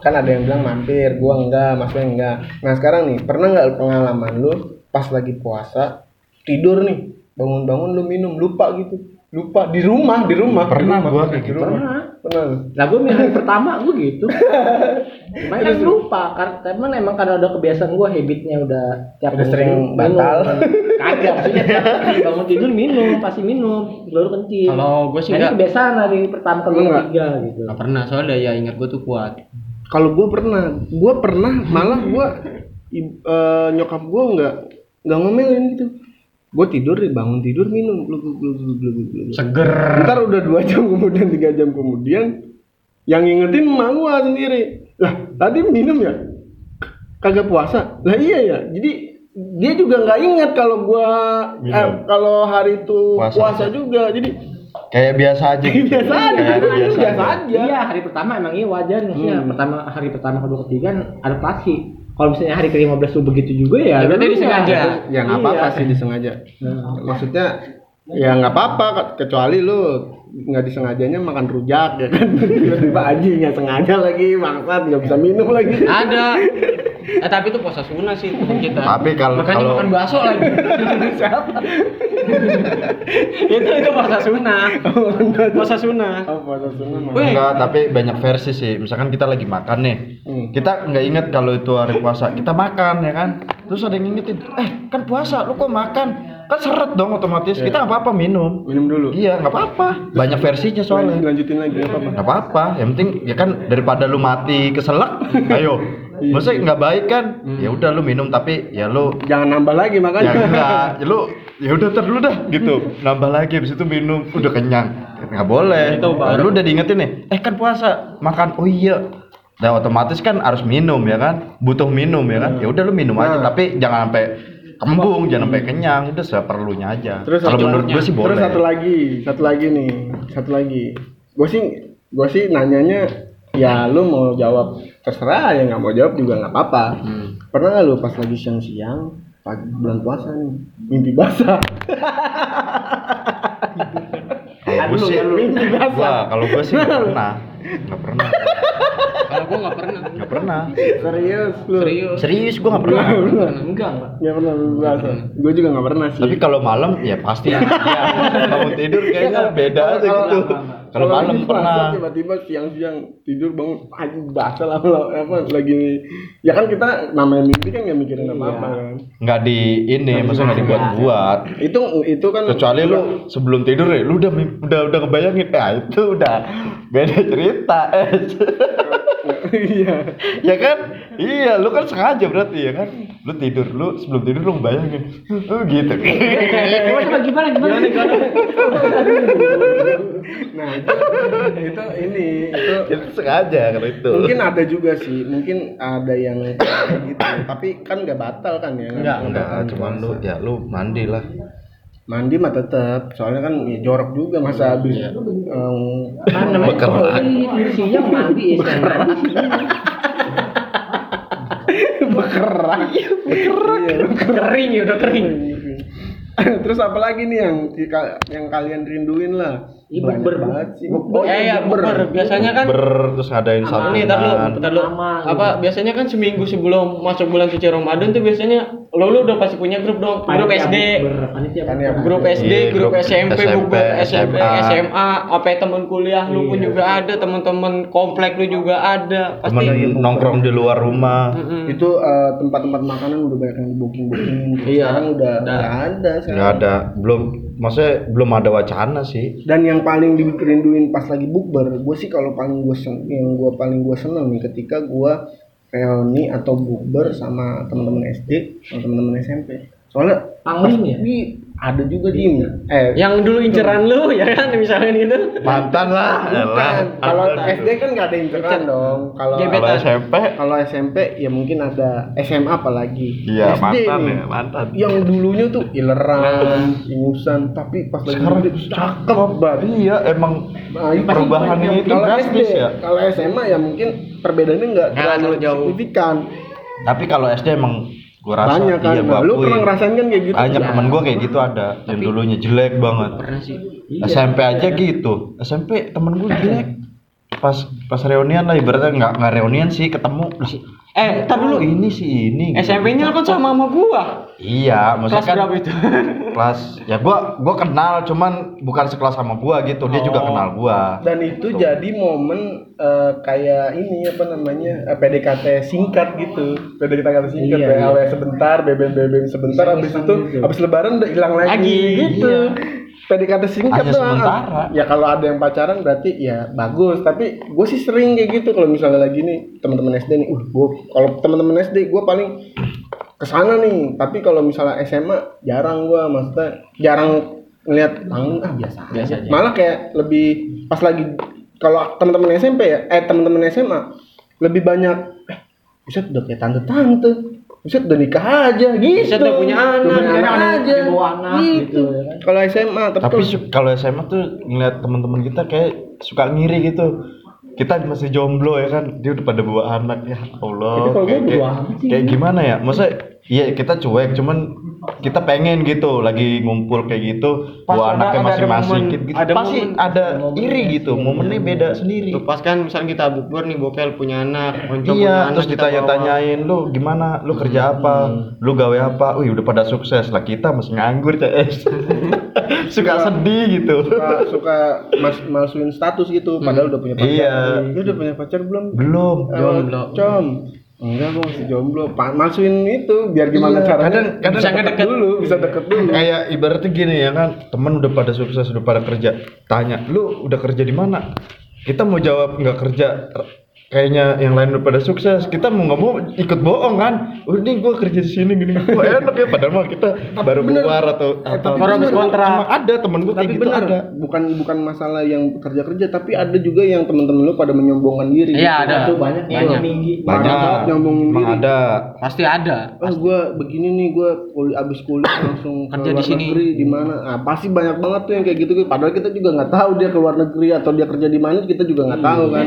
Speaker 3: Kan ada yang bilang mampir, gua enggak, maksudnya enggak. Nah, sekarang nih, pernah nggak pengalaman lu pas lagi puasa tidur nih, bangun-bangun lu minum lupa gitu. Lupa di rumah, di rumah. di
Speaker 4: Pernah
Speaker 3: rumah,
Speaker 4: gua
Speaker 3: pernah,
Speaker 4: kayak
Speaker 3: di
Speaker 4: gitu.
Speaker 3: rumah. Pernah. lu?
Speaker 2: Lah gue minum pertama gue gitu. Cuman kan lupa karena emang emang karena udah kebiasaan gue habitnya udah
Speaker 3: Udah
Speaker 2: tiap bangun
Speaker 3: sering
Speaker 2: tidur
Speaker 3: batal.
Speaker 2: minum. kan. Kagak maksudnya tiap kali bangun tidur minum pasti minum baru kencing.
Speaker 1: Kalau gue sih
Speaker 2: Nah, ini
Speaker 1: nggak
Speaker 2: kebiasaan dari pertama ke
Speaker 3: Lu nggak?
Speaker 2: ketiga gitu.
Speaker 1: nggak pernah soalnya ya ingat gue tuh kuat.
Speaker 3: kalau gue pernah gue pernah malah gue nyokap gue nggak nggak ngomelin gitu gue tidur deh, bangun tidur minum glug, glug, glug, glug, glug, glug, glug.
Speaker 1: Seger.
Speaker 3: ntar udah dua jam kemudian tiga jam kemudian yang ngingetin emak gue sendiri lah tadi minum ya kagak puasa lah iya ya jadi dia juga nggak ingat kalau gua eh,
Speaker 4: Minum.
Speaker 3: kalau hari itu
Speaker 4: Puasa.
Speaker 3: puasa, juga jadi
Speaker 4: Kayak biasa aja gitu.
Speaker 3: biasa aja
Speaker 4: Kayak
Speaker 3: biasa,
Speaker 4: biasa aja.
Speaker 3: aja
Speaker 2: Iya hari pertama emang iya wajar maksudnya
Speaker 3: Hmm.
Speaker 2: pertama hari pertama kedua ketiga kan adaptasi. Kalau misalnya hari ke-15 lu begitu juga ya.
Speaker 1: Ya,
Speaker 2: lu
Speaker 1: berarti
Speaker 2: nggak.
Speaker 1: disengaja.
Speaker 3: ya nggak apa-apa sih disengaja maksudnya ya nggak apa-apa ke- kecuali lu nggak disengajanya makan rujak ya kan tiba-tiba anjing nggak sengaja lagi maksat nggak bisa minum lagi
Speaker 1: Ada. Eh, tapi itu puasa sunnah sih temen kita.
Speaker 4: Tapi kalau-
Speaker 1: makanya
Speaker 4: kalau-
Speaker 1: makan bakso lagi. itu itu puasa sunnah. Puasa sunnah.
Speaker 3: apa sunnah
Speaker 1: Weh,
Speaker 4: Enggak, tapi banyak versi sih. Misalkan kita lagi makan nih.
Speaker 3: Hmm.
Speaker 4: Kita nggak inget kalau itu hari puasa. Kita makan ya kan. Terus ada yang ngingetin, "Eh, kan puasa, lu kok makan?" Kan seret dong otomatis. Kita nggak apa-apa minum.
Speaker 3: minum dulu
Speaker 4: Iya, nggak apa-apa. Banyak versinya
Speaker 3: Lan-
Speaker 4: soalnya.
Speaker 3: lanjutin lagi apa apa
Speaker 4: Nggak apa-apa. Yang penting ya kan daripada lu mati keselak, ayo. Maksudnya nggak baik kan? Ya udah lu minum tapi ya lu
Speaker 3: jangan nambah lagi
Speaker 4: ya
Speaker 3: makanya
Speaker 4: enggak ya lu ya udah ntar dulu dah gitu nambah lagi habis itu minum udah kenyang nggak boleh
Speaker 1: Itu baru.
Speaker 4: lu udah diingetin nih eh kan puasa makan oh iya Nah, otomatis kan harus minum ya kan? Butuh minum ya kan? Ya udah lu minum aja
Speaker 3: Nah. Hmm.
Speaker 4: tapi jangan sampai kembung, jangan sampai kenyang, udah seperlunya aja.
Speaker 3: Terus
Speaker 4: Kalau
Speaker 3: satu-
Speaker 4: menurut gue sih boleh.
Speaker 3: Terus satu lagi, satu lagi nih, satu lagi. Gue sih, gue sih nanyanya, ya lu mau jawab terserah ya nggak mau jawab juga nggak apa-apa.
Speaker 4: Hmm.
Speaker 3: Pernah nggak lu pas lagi siang-siang, pagi bulan puasa nih, mimpi basah?
Speaker 4: Kalau gue sih, Wah, kalau gue sih nggak pernah, nggak pernah,
Speaker 5: Kalau gua nggak pernah.
Speaker 4: nggak pernah.
Speaker 3: Serius lu?
Speaker 5: Serius.
Speaker 4: Serius gue nggak pernah.
Speaker 5: Enggak, Pak.
Speaker 3: Nggak pernah mimpi basah. Gue juga nggak pernah sih.
Speaker 4: Tapi kalau malam ya pasti ya. Bangun tidur kayaknya beda aja
Speaker 3: kalau-
Speaker 4: gitu. Kalau malam
Speaker 3: lagi puasa,
Speaker 4: pernah.
Speaker 3: tiba-tiba siang-siang tidur bangun anjing basah lah lah, apa lagi ya kan kita namanya mimpi kan nggak mikirin apa-apa
Speaker 4: Iya.
Speaker 3: kan
Speaker 4: nggak di ini maksudnya nggak dibuat-buat
Speaker 3: itu itu kan
Speaker 4: kecuali lu sebelum tidur ya lu udah mim- udah udah kebayangin nah itu udah beda cerita eh
Speaker 3: iya
Speaker 4: ya kan iya lu kan sengaja berarti ya kan lu tidur lu sebelum tidur lu bayangin lu gitu
Speaker 3: Eh,
Speaker 2: Coba coba gimana gimana?
Speaker 3: nah itu, itu ini itu
Speaker 4: itu sengaja kalau itu
Speaker 3: mungkin ada juga sih mungkin ada yang kayak gitu tapi kan nggak batal kan ya
Speaker 4: enggak enggak
Speaker 3: Kan
Speaker 4: cuman lu
Speaker 3: puasa.
Speaker 4: ya lu mandi lah
Speaker 3: mandi mah tetap soalnya kan ya, jorok juga masa habis em,
Speaker 4: bekerlak
Speaker 2: Siang mandi ya. siang mandi.
Speaker 3: bekerak bekerak
Speaker 2: Iya,
Speaker 5: Kering ya udah kering.
Speaker 3: terus apa lagi nih yang yang kalian rinduin lah
Speaker 2: Iya,
Speaker 3: Banyak
Speaker 2: bukber.
Speaker 3: banget sih.
Speaker 2: Bukber.
Speaker 3: Oh,
Speaker 5: Ya ya,
Speaker 3: iya,
Speaker 5: bukber. Biasanya kan
Speaker 4: ber terus ngadain satu
Speaker 5: Ini tar lu, tar lu.
Speaker 2: Sama,
Speaker 5: Apa biasanya kan seminggu sebelum masuk bulan suci Ramadan tuh biasanya lo lu udah pasti punya grup dong, grup
Speaker 2: Panitia
Speaker 5: SD.
Speaker 2: bukber, panitia
Speaker 3: Panitia
Speaker 2: bukber.
Speaker 5: Grup SD,
Speaker 4: Iya,
Speaker 5: grup
Speaker 4: grup
Speaker 5: SMP,
Speaker 4: SMP,
Speaker 5: SMP, SMP,
Speaker 4: SMA.
Speaker 5: SMA, apa ya, temen kuliah lu pun juga ada, temen-temen komplek lu juga ada. Pasti
Speaker 3: gitu.
Speaker 4: temen nongkrong di luar rumah
Speaker 3: itu eh, tempat-tempat makanan udah banyak yang booking bookingin
Speaker 5: Iya.
Speaker 3: sekarang udah nggak ada
Speaker 4: nggak
Speaker 3: sekarang
Speaker 4: ada belum maksudnya belum ada wacana sih
Speaker 3: dan yang paling dirinduin pas lagi bukber gue sih kalau paling gue sen- yang gue paling gue seneng nih ketika gue reuni atau bukber sama temen-temen SD sama temen-temen SMP soalnya
Speaker 2: Pangling ya?
Speaker 3: pasti ada juga Jim eh
Speaker 1: Ya.
Speaker 5: yang dulu inceran lu ya kan misalnya gitu.
Speaker 4: mantan lah elah.
Speaker 3: Bukan. Kalau
Speaker 4: Mantan.
Speaker 3: SD kan nggak ada internet dong. Kalau
Speaker 5: Gebet.
Speaker 4: kalau SMP
Speaker 3: kalau SMP ya mungkin ada SMA apalagi.
Speaker 4: iya
Speaker 3: SD
Speaker 4: mantan
Speaker 3: nih, Iya,
Speaker 4: ya mantan
Speaker 3: Yang dulunya tuh ileran, ingusan, tapi pas lagi
Speaker 4: sekarang
Speaker 3: gede,
Speaker 4: cakep
Speaker 3: banget.
Speaker 4: iya emang
Speaker 3: Nah, itu
Speaker 4: perubahannya
Speaker 3: banyak.
Speaker 4: itu
Speaker 3: kalau SD,
Speaker 4: drastis ya
Speaker 3: kalau SMA ya mungkin perbedaannya nggak
Speaker 5: Nggak
Speaker 3: terlalu
Speaker 5: terlalu jauh.
Speaker 3: signifikan.
Speaker 4: tapi kalau SD emang gua rasa
Speaker 3: Banyak kan.
Speaker 4: iya
Speaker 3: Nah,
Speaker 4: gua
Speaker 3: lu
Speaker 4: akuin.
Speaker 3: pernah ngerasain kan kayak gitu?
Speaker 4: banyak
Speaker 3: Ya.
Speaker 4: temen gua kayak gitu ada yang dulunya jelek banget
Speaker 5: Pernah sih.
Speaker 3: Iya.
Speaker 4: SMP aja gitu SMP temen gua jelek pas pas reunian lah ibaratnya nggak nggak reunian sih ketemu lah,
Speaker 5: Eh, tar
Speaker 4: lu
Speaker 5: dulu.
Speaker 4: ini sih ini gitu.
Speaker 5: SMP-nya lu kan sama sama gua.
Speaker 4: iya maksudnya
Speaker 5: Kelas
Speaker 4: kan
Speaker 5: berapa itu?
Speaker 4: kelas ya gua gua kenal cuman bukan sekelas sama gua gitu dia juga
Speaker 5: Oh.
Speaker 4: kenal gua
Speaker 3: Dan itu jadi momen eh, kayak ini apa namanya eh, PDKT singkat gitu, PDKT singkat,
Speaker 2: Iya,
Speaker 3: BLW sebentar, BBM BBM sebentar, habis itu
Speaker 2: gitu.
Speaker 3: habis Lebaran udah hilang lagi,
Speaker 5: Lagi,
Speaker 3: gitu. PDKT singkat
Speaker 4: Hanya sementara.
Speaker 3: Ya kalau ada yang pacaran berarti ya bagus, tapi gue sih sering kayak gitu kalau misalnya lagi nih teman-teman SD nih, uh gue kalau teman-teman SD gue paling kesana nih, tapi kalau misalnya SMA jarang gue, maksudnya jarang ngeliat panggung ah biasa
Speaker 5: Biasa aja.
Speaker 3: malah kayak lebih pas lagi kalau teman-teman SMP ya eh teman-teman SMA lebih banyak eh buset udah kayak tante-tante buset udah nikah aja gitu
Speaker 5: Buset, udah punya anak.
Speaker 3: udah punya anak,
Speaker 2: Anak,
Speaker 3: aja
Speaker 2: udah bawa anak,
Speaker 3: gitu,
Speaker 2: gitu, ya kan.
Speaker 3: kalau SMA tapi,
Speaker 4: tapi
Speaker 3: kalau-
Speaker 4: su- kalau SMA tuh ngeliat teman-teman kita kayak suka ngiri gitu kita masih jomblo ya kan dia udah pada bawa anak ya
Speaker 3: Tapi
Speaker 4: Allah
Speaker 3: kalau
Speaker 4: kayak,
Speaker 3: gua
Speaker 4: kayak-
Speaker 3: berdua amat
Speaker 4: kayak gimana ya masa iya kita cuek cuman kita pengen gitu lagi ngumpul kayak gitu
Speaker 5: Pas ada-
Speaker 4: bawa anaknya
Speaker 5: ada- ada
Speaker 4: masing-masing
Speaker 5: momen-
Speaker 4: gitu, gitu.
Speaker 5: ada
Speaker 4: pasti
Speaker 5: momen-
Speaker 4: ada
Speaker 2: momen
Speaker 4: iri
Speaker 2: ya,
Speaker 4: gitu
Speaker 2: iya,
Speaker 4: momennya
Speaker 2: iya.
Speaker 4: beda sendiri
Speaker 5: Tuh, pas kan misalnya kita bukber nih bokel punya anak, moncong punya
Speaker 4: Iya,
Speaker 5: anak,
Speaker 4: terus
Speaker 5: kita
Speaker 4: ditanya-tanyain lu gimana, lu
Speaker 5: Hmm.
Speaker 4: kerja apa, lu gawe apa, wih udah pada sukses lah kita masih nganggur CS, suka
Speaker 5: Iya.
Speaker 4: sedih gitu.
Speaker 3: suka, suka mas, masukin status gitu padahal udah punya pacar
Speaker 4: Iya.
Speaker 3: Lu udah punya pacar belum
Speaker 4: Belum.
Speaker 3: Eh, com enggak gua masih jomblo Pa- masukin itu biar gimana
Speaker 4: Iya,
Speaker 3: caranya
Speaker 4: kadang- kadang
Speaker 3: bisa deket
Speaker 5: deket.
Speaker 3: dulu bisa deket dulu
Speaker 4: Kayak ibaratnya gini ya kan, temen udah pada sukses, udah pada kerja, tanya, lu udah kerja di mana? Kita mau jawab nggak kerja, r- kayaknya yang lain udah pada sukses kita mau nggak mau ikut bohong kan oh ini gue kerja di sini gini gue enak ya padahal mah kita baru
Speaker 3: bener.
Speaker 4: keluar atau
Speaker 3: Eh,
Speaker 4: atau
Speaker 3: tapi Orang bener.
Speaker 1: kontrak.
Speaker 4: Emang ada temen gue kayak
Speaker 3: tapi
Speaker 4: gitu
Speaker 3: benar
Speaker 4: ada
Speaker 3: bukan bukan masalah yang kerja kerja tapi ada juga yang teman-teman lu pada menyombongkan diri
Speaker 5: Iya, ada.
Speaker 2: Itu banyak
Speaker 5: Banyak.
Speaker 2: tuh. Tinggi.
Speaker 3: Parah banget nyombongin
Speaker 4: emang
Speaker 3: diri.
Speaker 4: ada
Speaker 5: Pasti ada.
Speaker 3: oh gue begini nih gue kuliah abis kuliah langsung ke
Speaker 5: Kerja di
Speaker 3: luar
Speaker 5: sini.
Speaker 3: negeri di mana ah pasti banyak banget tuh yang kayak gitu padahal kita juga nggak tahu dia ke luar negeri atau dia kerja di mana kita juga
Speaker 5: Iya.
Speaker 3: nggak tahu kan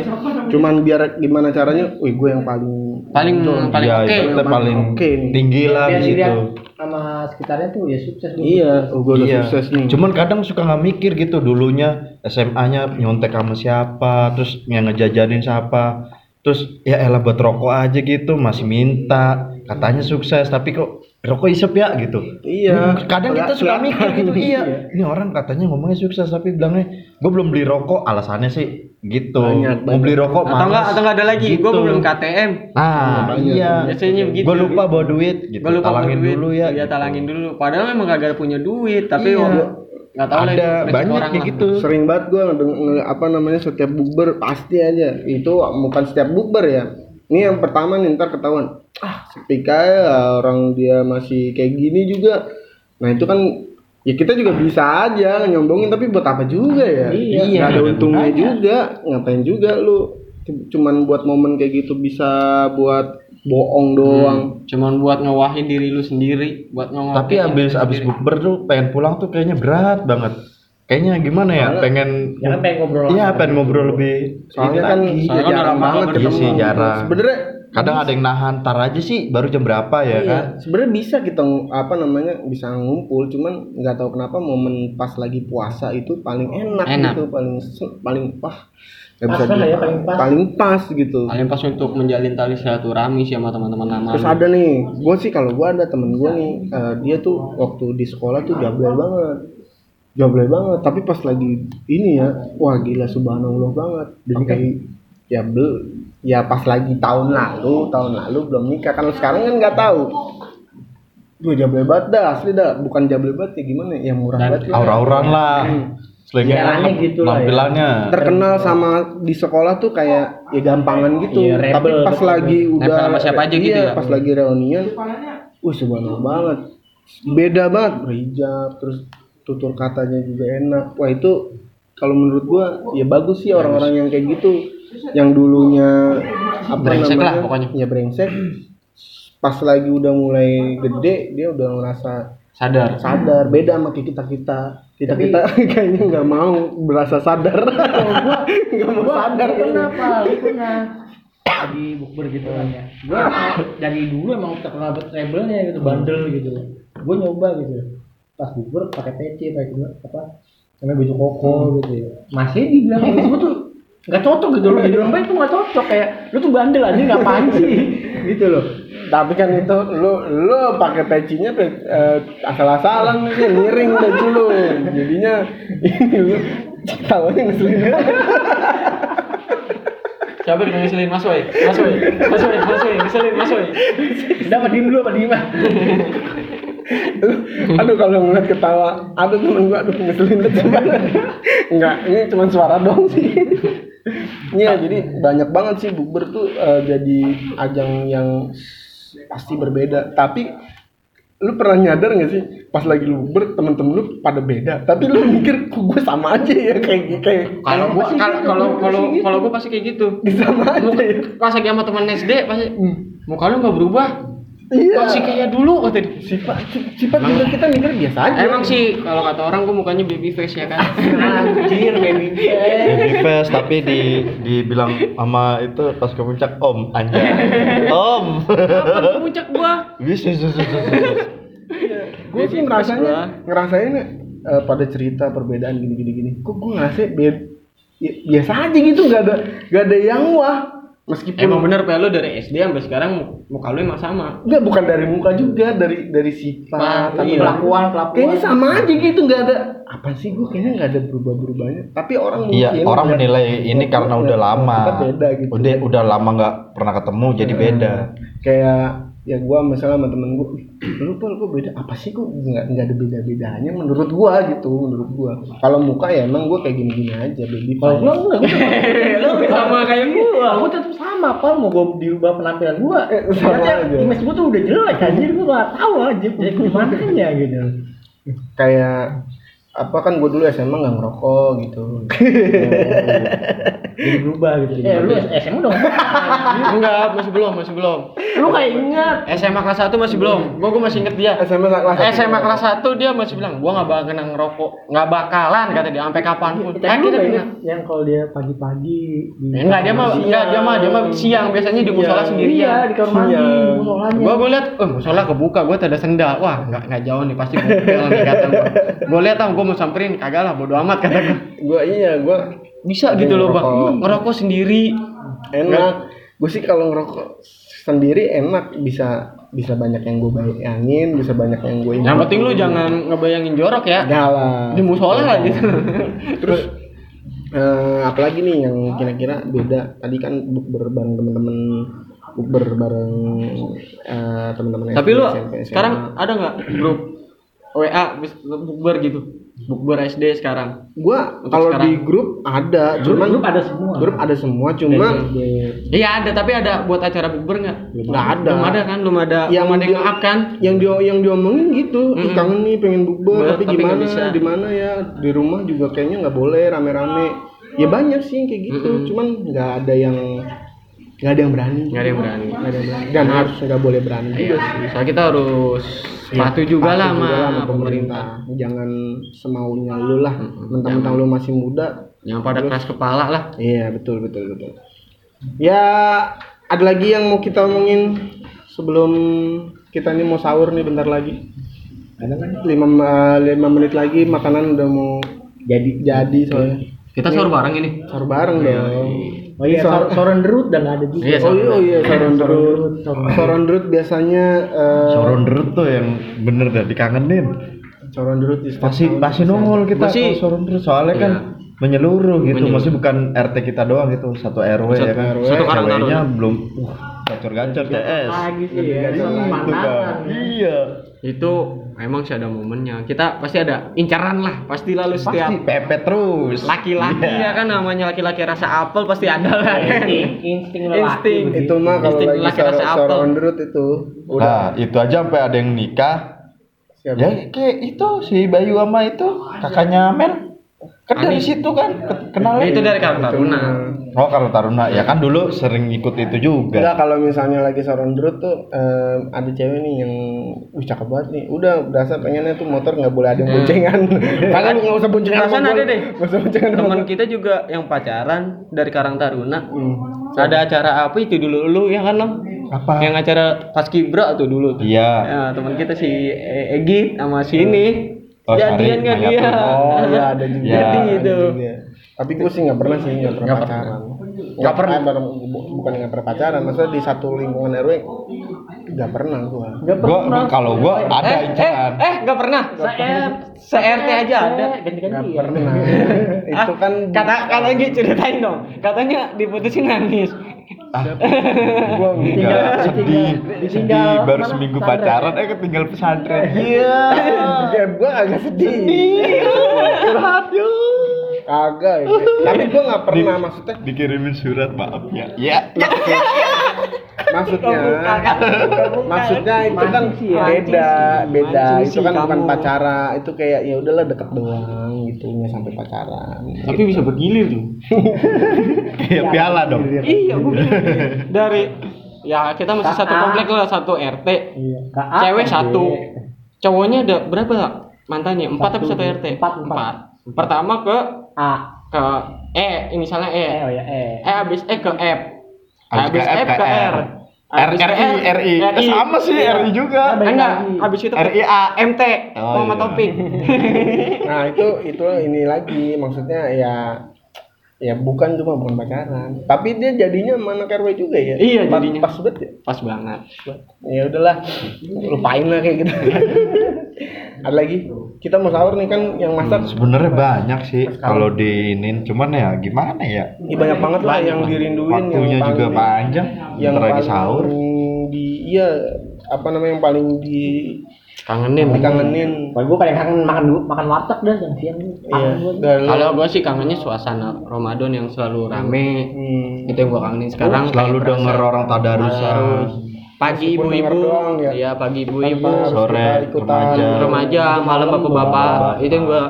Speaker 3: cuman biar gimana caranya wih gue yang paling
Speaker 5: Paling paling
Speaker 4: Iya,
Speaker 5: oke.
Speaker 4: ibaratnya paling
Speaker 3: Oke nih.
Speaker 4: tinggi lah
Speaker 2: Biar dilihat
Speaker 4: gitu
Speaker 2: sama sekitarnya tuh ya sukses lu.
Speaker 3: iya oh gue udah
Speaker 4: Iya.
Speaker 3: sukses nih
Speaker 4: Cuman kadang suka nggak mikir gitu dulunya SMA-nya nyontek sama siapa, terus yang ngejajanin siapa. Terus ya elah buat rokok aja gitu, masih minta. Katanya sukses, tapi kok rokok isep ya gitu.
Speaker 3: iya
Speaker 4: Kadang kita suka
Speaker 3: Kelihatan.
Speaker 4: mikir gitu, iya. Ini orang katanya ngomongnya sukses tapi bilangnya gue belum beli rokok, alasannya sih gitu.
Speaker 3: Banyak,
Speaker 4: Mau beli rokok
Speaker 5: Atau enggak atau enggak ada lagi. Gua
Speaker 4: Gitu.
Speaker 5: belum KTM.
Speaker 4: Ah,
Speaker 3: Banyak,
Speaker 4: iya.
Speaker 5: Biasanya begitu.
Speaker 4: Gue lupa bawa duit gitu.
Speaker 5: Gua lupa
Speaker 4: talangin
Speaker 5: punya duit.
Speaker 4: dulu ya.
Speaker 5: Iya,
Speaker 4: gitu.
Speaker 5: talangin dulu. Padahal memang kagak punya duit, tapi
Speaker 4: Iya.
Speaker 5: wah, nggak tahu lah
Speaker 4: Ada
Speaker 5: itu rezeki
Speaker 4: banyak
Speaker 5: orang
Speaker 4: kayak
Speaker 5: lah.
Speaker 4: gitu.
Speaker 3: sering banget gue apa namanya setiap bukber pasti aja itu bukan setiap bukber ya ini yang pertama nih ntar ketahuan ah sepika orang dia masih kayak gini juga nah itu kan ya kita juga bisa aja nyombongin tapi buat apa juga ya Nggak
Speaker 2: Iya.
Speaker 3: ada
Speaker 4: Nggak ada
Speaker 3: untungnya
Speaker 4: gunanya.
Speaker 3: juga ngapain juga lu C- cuman buat momen kayak gitu bisa buat bohong doang
Speaker 1: Hmm.
Speaker 5: Cuman buat ngewahin diri lu sendiri, buat ngewahin.
Speaker 4: Hmm. Tapi abis abis bukber tuh pengen pulang tuh kayaknya berat banget. Kayaknya gimana ya? Pengen
Speaker 2: Ya kan pengen ngobrol.
Speaker 4: Iya, pengen ngobrol lebih.
Speaker 3: soalnya
Speaker 4: ini
Speaker 3: kan
Speaker 4: Iya, lagi.
Speaker 3: ya
Speaker 5: Soalnya kan orang
Speaker 3: jarang banget
Speaker 4: banget gitu.
Speaker 3: ketemu
Speaker 4: sih, jarang.
Speaker 3: sebenernya
Speaker 4: kadang ada yang nahan tar aja sih baru jam berapa ya
Speaker 3: Iya,
Speaker 4: kan?
Speaker 3: sebenarnya bisa kita ng- apa namanya bisa ngumpul, cuman nggak tahu kenapa momen pas lagi puasa itu paling enak,
Speaker 5: Enak.
Speaker 3: gitu, paling se- paling wah nggak
Speaker 2: Pas
Speaker 3: bisa
Speaker 2: lah ya,
Speaker 3: dilupain.
Speaker 2: paling pas.
Speaker 3: paling pas gitu.
Speaker 5: Paling pas untuk menjalin tali silaturahmi sih sama teman-teman lama.
Speaker 3: Terus ada nih, gue sih kalau gue ada temen gue nih, eh, dia tuh waktu di sekolah tuh jablay banget, jablay banget. Tapi pas lagi ini ya, wah gila subhanallah banget. Pakai ya bel, ya pas lagi tahun lalu, tahun lalu belum nikah. Kalau sekarang kan nggak tahu. Gue jablay banget dah, asli dah. Bukan jablay banget ya gimana? Ya murah
Speaker 5: Dan
Speaker 3: banget. lah.
Speaker 4: Aura-auran lah.
Speaker 2: Jalannya
Speaker 4: Selingan
Speaker 2: gitu lah ya.
Speaker 4: tampilannya.
Speaker 3: Terkenal sama di sekolah tuh kayak ya gampangan gitu.
Speaker 2: Iya, rebel,
Speaker 3: Tapi pas
Speaker 2: betul.
Speaker 3: lagi udah
Speaker 5: sama siapa aja gitu
Speaker 3: iya,
Speaker 5: ya?
Speaker 3: Pas lagi reunian, Wih subhanallah banget. Beda banget berhijab terus tutur katanya juga enak. Wah itu kalau menurut gua ya bagus sih orang-orang yang kayak gitu yang dulunya apa
Speaker 5: Brengsek
Speaker 3: namanya
Speaker 5: lah pokoknya.
Speaker 3: ya brengsek pas lagi udah mulai gede dia udah ngerasa
Speaker 5: Sadar.
Speaker 3: sadar beda sama kita kita kita kita kayaknya nggak mau berasa sadar nggak mau
Speaker 2: Gua
Speaker 3: sadar kayaknya.
Speaker 2: kenapa? Lu pernah lagi bukber gitu kan ya. Gua
Speaker 3: Ah.
Speaker 2: emang dari dulu emang terkenal banget rebelnya gitu, bandel gitu. Gua nyoba gitu. Pas bukber pakai peci, pakai gimana, apa? Namanya baju koko
Speaker 3: Hmm.
Speaker 2: gitu ya. Masih dibilang kayak gua tuh nggak cocok gitu loh. Jadi orang baik tuh nggak cocok kayak lu tuh bandel aja ngapain sih gitu loh.
Speaker 3: tapi kan itu lu lu pakai pecinya pe- eh, asal-asalan nih miring baju lu jadinya ini lu tawanya ngeselin banget.
Speaker 5: Siapa yang ngeselin Mas Wei? Mas Wei. Mas Wei, Mas Wei, ngeselin Mas Wei.
Speaker 2: Dapat diem dulu, apa diem ah?
Speaker 3: Gitu. aduh kalau ngeliat ketawa aduh temen gua aduh ngeselin banget cuman enggak ini cuma suara doang sih Iya jadi banyak banget sih bukber tuh eh, jadi ajang yang pasti berbeda tapi lu pernah nyadar gak sih pas lagi lu bukber temen-temen lu pada beda tapi lu mikir kok gue sama aja ya kayak kayak
Speaker 5: Kalau gua
Speaker 2: pasti
Speaker 5: kalau
Speaker 2: gitu,
Speaker 5: kalau kalau
Speaker 2: gua pasti gitu.
Speaker 5: kalau gua pasti kayak gitu.
Speaker 3: sama aja ya
Speaker 5: Pas lagi sama teman SD pasti "Hmm, muka lu nggak berubah.
Speaker 3: iya
Speaker 5: Masih kayak dulu Oh, kata dia.
Speaker 3: sifat sifat juga kita mikir biasa aja
Speaker 5: Emang sih kalau kata orang gua mukanya baby face ya kan.
Speaker 2: Anjir, baby.
Speaker 4: Baby face tapi di dibilang sama itu pas ke puncak om anjay. Om.
Speaker 5: Kapan ke puncak gua?
Speaker 4: Bis bis, bis, bis, bis.
Speaker 3: gue sih ngerasanya ngerasain eh, pada cerita perbedaan gini gini gini kok gue ngerasa be- ya- biasa aja gitu nggak ada nggak ada yang wah meskipun
Speaker 5: Emang bener Pel, lu dari SD sampai sekarang muka lu emang sama.
Speaker 3: nggak bukan dari muka juga dari dari sifat
Speaker 5: Nah,
Speaker 3: atau
Speaker 5: iya.
Speaker 3: kelakuan
Speaker 2: kelakuan.
Speaker 3: kayaknya sama aja gitu nggak ada apa sih gue kayaknya nggak ada berubah berubahnya tapi orang
Speaker 4: Iya,
Speaker 3: mungkin
Speaker 4: orang
Speaker 3: ngeliat-
Speaker 4: menilai ini
Speaker 3: ngeliat-
Speaker 4: karena udah
Speaker 3: ngeliat
Speaker 4: lama.
Speaker 3: kita Iya, Kan beda gitu Iya.
Speaker 4: Udah udah lama nggak pernah ketemu jadi beda.
Speaker 3: kayak ya gua misalnya sama temen gua "Ih, lu pun gua beda apa sih kok nggak nggak ada beda bedanya menurut gua gitu menurut gua kalau muka ya emang gua kayak gini gini aja baby fine.
Speaker 2: Kalau gua enggak, gua tetap-
Speaker 1: Lu sama kayak gua.
Speaker 2: gua tetap sama, pal mau gua dirubah penampilan gua.
Speaker 3: Eh, sama
Speaker 2: Ternyata
Speaker 3: aja.
Speaker 2: Image gua tuh udah jelek anjir, gua enggak tahu aja jelek gimana ya gitu.
Speaker 3: kayak apa kan gua dulu SMA nggak ngerokok gitu
Speaker 2: Jadi berubah gitu.
Speaker 1: Iya.
Speaker 2: Eh, lu SMA dong.
Speaker 1: Enggak, masih belum, masih belum.
Speaker 2: lu kayak ingat.
Speaker 1: SMA kelas 1 masih belum. Gua gua masih inget dia.
Speaker 3: SMA kelas satu.
Speaker 1: SMA kelas 1 dia masih bilang, gua nggak bakal kena ngerokok, nggak bakalan kata dia sampai kapanpun.
Speaker 2: Tapi lu
Speaker 1: Akhirnya
Speaker 2: nggak
Speaker 1: kena.
Speaker 2: ingat yang kalau dia pagi-pagi di
Speaker 1: Enggak, dia mah enggak, dia mah dia mah siang biasanya di musola
Speaker 2: Iya,
Speaker 1: sendirian.
Speaker 2: di kamar mandi,
Speaker 3: Iya.
Speaker 2: di musolanya.
Speaker 1: Gua gua lihat, eh musola kebuka, gua ada sendal. Wah, enggak enggak jauh nih pasti gua nih kata gua. Gua lihat ah, gua mau samperin, kagak lah bodo amat kata gua.
Speaker 3: gua iya gua
Speaker 1: Bisa gitu loh, Bang. Ngerokok sendiri.
Speaker 3: enak gue sih kalau ngerokok sendiri enak bisa bisa banyak yang gue bayangin bisa banyak yang gue
Speaker 1: Yang penting lu jangan ngebayangin jorok ya.
Speaker 3: enggak lah
Speaker 1: Di musola lah gitu.
Speaker 3: terus eh, apalagi nih yang kira-kira beda tadi kan bukber bareng temen-temen bukber bareng eh, temen-temen
Speaker 1: Tapi
Speaker 3: SD,
Speaker 1: lu
Speaker 3: SMP, SMA.
Speaker 1: sekarang ada nggak grup WA bis- bukber gitu? Bukber SD sekarang.
Speaker 3: gua kalau
Speaker 1: sekarang.
Speaker 3: di grup ada
Speaker 2: Grup,
Speaker 3: cuman
Speaker 2: grup ada semua.
Speaker 3: grup ada semua cuma
Speaker 1: Iya ada, tapi ada buat acara bukber nggak?
Speaker 3: nggak ada
Speaker 1: Belum ada kan, belum ada.
Speaker 3: Yang
Speaker 1: Yang belum ada yang
Speaker 3: di-
Speaker 1: nge-up kan?
Speaker 3: yang dia yang diomongin gitu "Ih,
Speaker 1: Mm-mm.
Speaker 3: kangen nih pengen
Speaker 1: Boleh,
Speaker 3: bukber tapi,
Speaker 1: tapi nggak
Speaker 3: gimana
Speaker 1: bisa.
Speaker 3: di mana ya di rumah juga kayaknya nggak boleh rame-rame ya banyak sih yang kayak gitu cuman nggak ada yang nggak ada yang berani
Speaker 1: Nggak ada yang berani.
Speaker 3: Nggak ada yang berani dan harus nggak boleh berani
Speaker 1: Iya,
Speaker 3: juga sih
Speaker 1: soalnya kita harus Iya, patuh juga
Speaker 3: Iya. Patuh
Speaker 1: lah sama
Speaker 3: juga
Speaker 1: pemerintah.
Speaker 3: jangan semaunya lu lah mentang-mentang lu masih muda
Speaker 1: Yang pada keras kepala lah.
Speaker 3: iya betul betul betul ya ada lagi yang mau kita omongin sebelum kita ini mau sahur nih bentar lagi
Speaker 2: Ada kan?
Speaker 3: lima eh, lima menit lagi makanan udah mau jadi jadi soalnya
Speaker 1: Kita sahur bareng ini.
Speaker 3: sahur bareng dong
Speaker 2: Oh iya, sor soron derut dan ada juga.
Speaker 1: Iya,
Speaker 3: oh iya oh iya soron
Speaker 2: Soron
Speaker 3: derut
Speaker 2: derut, soron derut.
Speaker 3: soron derut biasanya eh,
Speaker 4: Soron derut tuh yang bener dah dikangenin.
Speaker 3: soron derut di setiap
Speaker 4: Pasti
Speaker 3: tahun.
Speaker 4: pasti nongol kita
Speaker 1: Masih-
Speaker 4: kalau soron derut soalnya kan menyeluruh gitu. Masih bukan RT kita doang itu satu RW ya kan.
Speaker 3: RW,
Speaker 1: satu karang
Speaker 4: Ceweknya belum uh gacor-gacor CS.
Speaker 2: Lagi sih ya.
Speaker 4: Iya,
Speaker 2: soal
Speaker 4: itu kan.
Speaker 2: pantangan.
Speaker 4: Iya.
Speaker 1: Itu emang sih ada momennya. Kita pasti ada incaran lah. Pasti lalu setiap
Speaker 4: Pasti pepet terus.
Speaker 1: laki-laki
Speaker 4: Iya.
Speaker 1: ya kan namanya laki-laki rasa apel pasti ada kan? lah.
Speaker 2: Insting, insting lelaki.
Speaker 1: Insting.
Speaker 3: itu mah kalau
Speaker 1: Insting
Speaker 3: lagi
Speaker 1: laki
Speaker 3: sor-
Speaker 1: rasa apel.
Speaker 3: soron derut itu udah
Speaker 4: Nah, itu aja sampai ada yang nikah.
Speaker 3: siap
Speaker 4: Ya kayak itu si Bayu sama itu kakaknya Mel. Kan dari situ kan ke- kenalnya.
Speaker 1: Nah, Itu dari Karang
Speaker 3: Itu
Speaker 1: Taruna.
Speaker 3: mah.
Speaker 4: Oh kalau Taruna ya kan dulu sering ikut itu juga.
Speaker 3: Enggak kalau misalnya lagi soron derut tuh em, ada cewek nih yang wih cakep banget nih. Udah berasa pengennya tuh motor nggak boleh ada yang boncengan. Kalian nggak usah boncengan. sama
Speaker 1: Perasaan
Speaker 3: gua.
Speaker 1: ada deh.
Speaker 3: Nggak usah boncengan. sama
Speaker 1: Teman kita juga yang pacaran dari Karang Taruna.
Speaker 3: Hmm.
Speaker 1: Ada acara apa itu dulu lu ya kan Lam?
Speaker 4: Apa?
Speaker 1: Yang acara paskibra tuh dulu. tuh.
Speaker 4: Iya.
Speaker 1: Ya, teman kita si E- Egi sama si ini.
Speaker 4: Oh,
Speaker 1: Jadian
Speaker 4: Sari,
Speaker 1: kan
Speaker 4: Maya
Speaker 1: dia.
Speaker 4: Putri.
Speaker 3: Oh iya ada juga.
Speaker 4: Iya.
Speaker 3: Ada
Speaker 1: Gitu.
Speaker 3: juga. Tapi gue sih nggak pernah sih nggak pernah pacaran. Nggak pernah. bu- Bukan nggak pernah pacaran. Maksudnya di satu lingkungan RW nggak pernah gua.
Speaker 2: Gak
Speaker 4: Gua
Speaker 2: pernah.
Speaker 4: kalau gua ada
Speaker 1: Eh, eh,
Speaker 4: incaran.
Speaker 1: eh, nggak pernah. Se
Speaker 2: Eh,
Speaker 1: RT aja ada.
Speaker 2: Ganti-ganti.
Speaker 3: Nggak
Speaker 2: ya.
Speaker 3: pernah. Itu
Speaker 1: Ah,
Speaker 3: kan
Speaker 1: kata kata Egi ceritain dong. Katanya diputusin nangis.
Speaker 4: Gua
Speaker 2: Ditinggal,
Speaker 4: Ah, enggak sedih.
Speaker 2: ditinggal.
Speaker 4: Sedih baru
Speaker 2: Mana?
Speaker 4: seminggu
Speaker 2: Pesantren.
Speaker 4: pacaran eh ketinggal pesantren.
Speaker 3: Iya. Ya gue agak sedih.
Speaker 4: Curhat yuk.
Speaker 3: Kagak. ya. Tapi gue nggak pernah maksudnya
Speaker 4: Dikirimin surat maaf ya. Iya.
Speaker 3: maksudnya maksudnya itu kan
Speaker 2: Mancing sih ya.
Speaker 3: beda beda
Speaker 1: Mancing
Speaker 3: itu
Speaker 1: sih
Speaker 3: kan bukan
Speaker 1: kamu.
Speaker 3: pacara itu kayak ya udahlah deket doang gitu nggak sampai pacaran
Speaker 1: Tapi bisa bergilir tuh.
Speaker 4: Kayak piala dong.
Speaker 1: Iya, gua bilang. dari ya kita masih satu komplek lah, satu RT.
Speaker 2: Ah, Iya. Nggak apa,
Speaker 1: Cewek
Speaker 2: Dek.
Speaker 1: satu. Cowoknya ada berapa mantannya? Empat tapi
Speaker 2: Satu.
Speaker 1: satu RT.
Speaker 2: Empat, empat.
Speaker 1: Pertama ke
Speaker 2: A.
Speaker 1: ke E, inisialnya E.
Speaker 2: Eh, oh ya, eh.
Speaker 1: E habis E ke F.
Speaker 4: Habis
Speaker 1: Habis
Speaker 4: ke Ah, F
Speaker 1: F
Speaker 4: ke
Speaker 1: ke
Speaker 4: R.
Speaker 1: R.
Speaker 4: R
Speaker 1: Habis
Speaker 4: RI
Speaker 1: ke R,
Speaker 4: RI. Eh, Sama sih RI juga.
Speaker 1: Eh, Enggak,
Speaker 2: Lagi.
Speaker 1: habis itu ke
Speaker 4: RIA.
Speaker 1: MT.
Speaker 4: Oh,
Speaker 1: Oh, sama
Speaker 4: iya.
Speaker 1: topik.
Speaker 3: nah itu itu ini lagi maksudnya ya ya bukan cuma bukan pacaran tapi dia jadinya mana RW juga ya
Speaker 1: Iya,
Speaker 3: Pas-
Speaker 1: jadinya.
Speaker 3: pas banget ya
Speaker 1: Pas banget.
Speaker 3: ya udahlah lupain lah kayak gitu ada lagi kita mau sahur nih kan yang masak
Speaker 4: Sebenarnya banyak sih kalau diinin cuman ya gimana ya?
Speaker 3: Ih, banyak banget lah yang dirinduin yang
Speaker 4: Waktunya juga
Speaker 3: paling-
Speaker 4: panjang.
Speaker 3: yang
Speaker 4: Yang lagi
Speaker 3: paling
Speaker 4: sahur.
Speaker 3: di iya apa namanya yang paling di
Speaker 1: kangenin
Speaker 3: dikangenin
Speaker 2: Kalau gue paling kangen makan makan warteg dah jam siang.
Speaker 3: iya
Speaker 2: Kangen gua.
Speaker 3: dan
Speaker 1: kalau gue sih kangennya suasana Ramadan yang selalu rame
Speaker 3: Hmm.
Speaker 1: itu yang gue kangenin sekarang
Speaker 4: selalu
Speaker 1: kayak
Speaker 4: denger
Speaker 1: berasa-
Speaker 4: orang tadarusan
Speaker 1: Tadarus. pagi
Speaker 3: Meskipun
Speaker 1: ibu-ibu
Speaker 3: denger doang ya.
Speaker 1: iya pagi
Speaker 3: Tanpa
Speaker 1: ibu-ibu
Speaker 3: harus
Speaker 4: sore,
Speaker 3: kita ikutan
Speaker 4: remaja.
Speaker 1: remaja malam bapak-bapak itu yang gue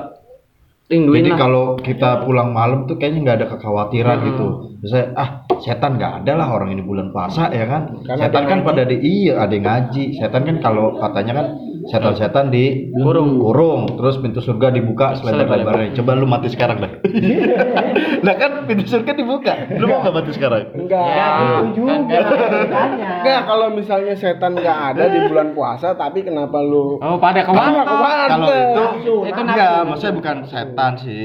Speaker 1: rinduin
Speaker 4: Jadi
Speaker 1: lah
Speaker 4: kalau kita pulang malam tuh kayaknya nggak ada kekhawatiran gitu. Misalnya ah setan nggak ada lah orang ini bulan puasa ya kan. setan kan pada di iya ada yang ngaji. Setan kan kalau katanya kan setan-setan di
Speaker 1: Kurung.
Speaker 4: kurung. Terus pintu surga dibuka selebar-lebarnya. Coba lu mati sekarang deh. nah kan pintu surga dibuka. Lu mau nggak mati sekarang?
Speaker 3: enggak
Speaker 1: Ya, kan, kan.
Speaker 3: enggak kalau misalnya setan nggak ada di bulan puasa tapi kenapa lu
Speaker 1: oh pada
Speaker 3: Kenapa
Speaker 1: kemana
Speaker 3: ke warteg?
Speaker 4: Kalau itu
Speaker 1: Itu
Speaker 4: enggak,
Speaker 1: nafsu.
Speaker 4: maksudnya bukan setan sih.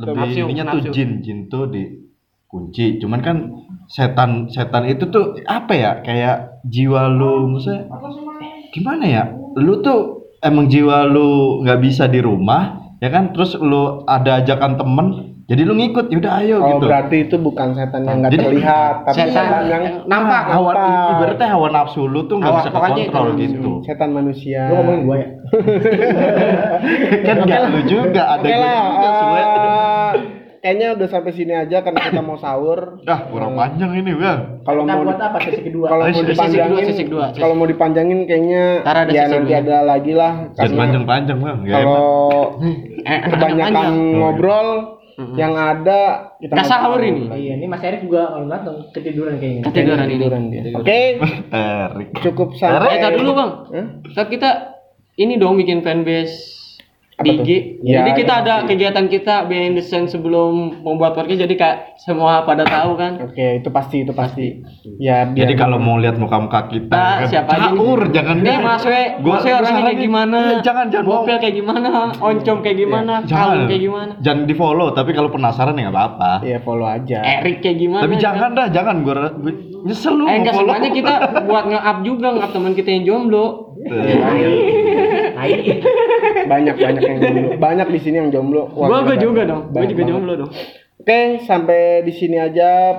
Speaker 4: Lebih
Speaker 1: Nafsu,
Speaker 4: ininya tuh
Speaker 1: nafsu.
Speaker 4: jin, jin tuh dikunci. Cuman kan setan setan itu tuh apa ya? Kayak jiwa lu maksudnya gimana ya? Lu tuh emang jiwa lu nggak bisa di rumah, ya kan? Terus lu ada ajakan temen, jadi lu ngikut, yaudah ayo
Speaker 3: oh
Speaker 4: gitu.
Speaker 3: berarti itu bukan setan yang nggak
Speaker 4: Jadi,
Speaker 3: terlihat tapi
Speaker 4: setan
Speaker 3: setan, yang
Speaker 4: Nampak hawa
Speaker 3: Nampak.
Speaker 4: ibaratnya hawa nafsu lu tuh nggak
Speaker 1: Hawa-
Speaker 4: bisa
Speaker 1: pokoknya itu
Speaker 4: kontrol
Speaker 1: nafsu.
Speaker 4: gitu.
Speaker 3: setan manusia
Speaker 2: Lu ngomongin gue ya.
Speaker 4: kan nggak lu juga ada
Speaker 3: Oke
Speaker 4: gue
Speaker 3: lah,
Speaker 4: juga semuanya.
Speaker 3: eh, kayaknya udah sampai sini aja karena kita mau sahur.
Speaker 4: Dah kurang panjang ini bang.
Speaker 3: Kalau
Speaker 2: Kita
Speaker 3: mau
Speaker 2: buat apa sesi kedua?
Speaker 3: kalau
Speaker 4: Eh,
Speaker 3: mau
Speaker 4: sesi- sesi
Speaker 1: kedua,
Speaker 3: dipanjangin,
Speaker 1: sesi kedua, sesi-
Speaker 3: kalau mau dipanjangin kayaknya
Speaker 1: Ntar ada
Speaker 3: ya
Speaker 1: sesi
Speaker 3: nanti
Speaker 1: kedua.
Speaker 3: ada lagi lah.
Speaker 4: Dan
Speaker 1: Iya.
Speaker 3: Karena
Speaker 4: panjang-panjang bang. Iya, Nggak enak.
Speaker 3: kalau
Speaker 1: Eh,
Speaker 3: kebanyakan ngobrol yang ada kita
Speaker 1: Nggak
Speaker 3: mau-
Speaker 1: sahur ini.
Speaker 2: Iya, ini Mas Erik juga kalau datang ketiduran kayaknya.
Speaker 1: ketiduran ini
Speaker 3: Oke,
Speaker 4: Erik.
Speaker 3: cukup
Speaker 1: eh
Speaker 3: sampai.
Speaker 1: tar dulu bang
Speaker 3: Hah?
Speaker 1: Ntar kita ini dong bikin fanbase
Speaker 3: Apa
Speaker 1: di
Speaker 3: tuh?
Speaker 1: IG.
Speaker 3: Ya,
Speaker 1: jadi kita
Speaker 3: ya,
Speaker 1: ada kegiatan kita behind the scene sebelum membuat podcast jadi kak semua pada tahu kan.
Speaker 3: Oke, itu pasti itu pasti. Ya biar
Speaker 4: Jadi kalau mau lihat muka-muka kita,
Speaker 1: Nah,
Speaker 4: ya kan,
Speaker 1: iya, siapa aja nih?
Speaker 4: caur, jangan
Speaker 1: Nih Mas We, Mas
Speaker 4: Gua-
Speaker 1: We
Speaker 4: gua
Speaker 1: orangnya kayak
Speaker 4: saranin.
Speaker 1: gimana?
Speaker 4: Iya, jangan jangan mau.
Speaker 1: Bopel kayak gimana? Oncom kayak gimana?
Speaker 4: Jangan.
Speaker 1: Kalung kayak gimana? Iya.
Speaker 4: Jangan di follow, tapi kalau penasaran ya nggak apa-apa.
Speaker 3: ya follow aja.
Speaker 1: Erik kayak gimana?
Speaker 4: Tapi jangan dah, jangan gua, gua nyesel lu
Speaker 1: Iya. Eh enggak
Speaker 4: nge-follow.
Speaker 1: semuanya kita buat nge-up juga nge-up teman kita yang jomblo.
Speaker 4: Tuh.
Speaker 2: Hai.
Speaker 3: Banyak banyak yang jomblo. Banyak di sini yang jomblo. Wah,
Speaker 1: Gua
Speaker 3: gila,
Speaker 1: gua
Speaker 3: banyak.
Speaker 1: juga dong. Gua
Speaker 3: Banyak
Speaker 1: juga
Speaker 3: banget.
Speaker 1: jomblo dong.
Speaker 3: Oke, sampai di sini aja.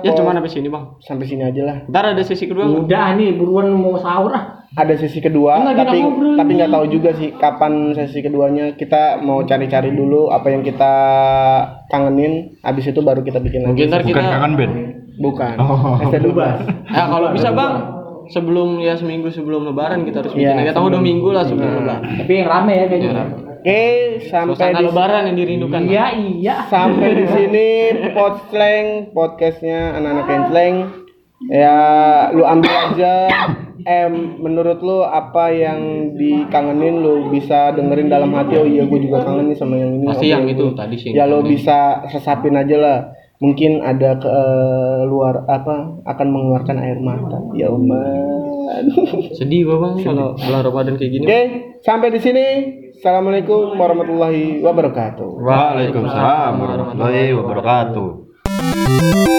Speaker 1: Ya
Speaker 3: Pol-
Speaker 1: cuma sampai sini, Bang.
Speaker 3: sampai sini aja lah.
Speaker 1: Ntar ada sesi kedua. nggak?
Speaker 2: Udah nih buruan mau sahur ah.
Speaker 3: Ada sesi kedua,
Speaker 1: Enggak, kita
Speaker 3: tapi
Speaker 1: ngobrol.
Speaker 3: tapi nggak tahu juga sih kapan sesi keduanya. Kita mau cari-cari dulu apa yang kita kangenin. Abis itu baru kita bikin
Speaker 1: Mungkin
Speaker 3: lagi.
Speaker 1: ntar
Speaker 4: Bukan
Speaker 1: kita
Speaker 4: kangen Ben.
Speaker 3: Bukan.
Speaker 4: Oh.
Speaker 3: Esta Dubas.
Speaker 1: Ya kalau bisa bang, sebelum ya seminggu sebelum Lebaran kita harus bikin
Speaker 3: Iya,
Speaker 1: aja. Tahu dua minggu lah sebelum Lebaran.
Speaker 2: Tapi yang rame ya kayaknya.
Speaker 1: Iya,
Speaker 3: Oke, sampai
Speaker 1: Suasana
Speaker 3: di
Speaker 1: Lebaran yang dirindukan.
Speaker 2: Iya, iya.
Speaker 3: sampai di sini Podsleng podcastnya anak-anak Ensleng ya lu ambil aja em menurut lu apa yang dikangenin lu bisa dengerin dalam hati oh iya gue juga kangen nih sama yang ini
Speaker 1: Pasti
Speaker 3: Oh,
Speaker 1: yang
Speaker 3: iya,
Speaker 1: itu
Speaker 3: gua-
Speaker 1: tadi sih.
Speaker 3: ya lu bisa sesapin aja lah mungkin ada ke eh, luar apa akan mengeluarkan air mata ya umat
Speaker 1: Sedih gua bang kalau bulan Ramadan kayak gini.
Speaker 3: oke sampai di sini assalamualaikum warahmatullahi wabarakatuh
Speaker 4: Waalaikumsalam warahmatullahi wabarakatuh.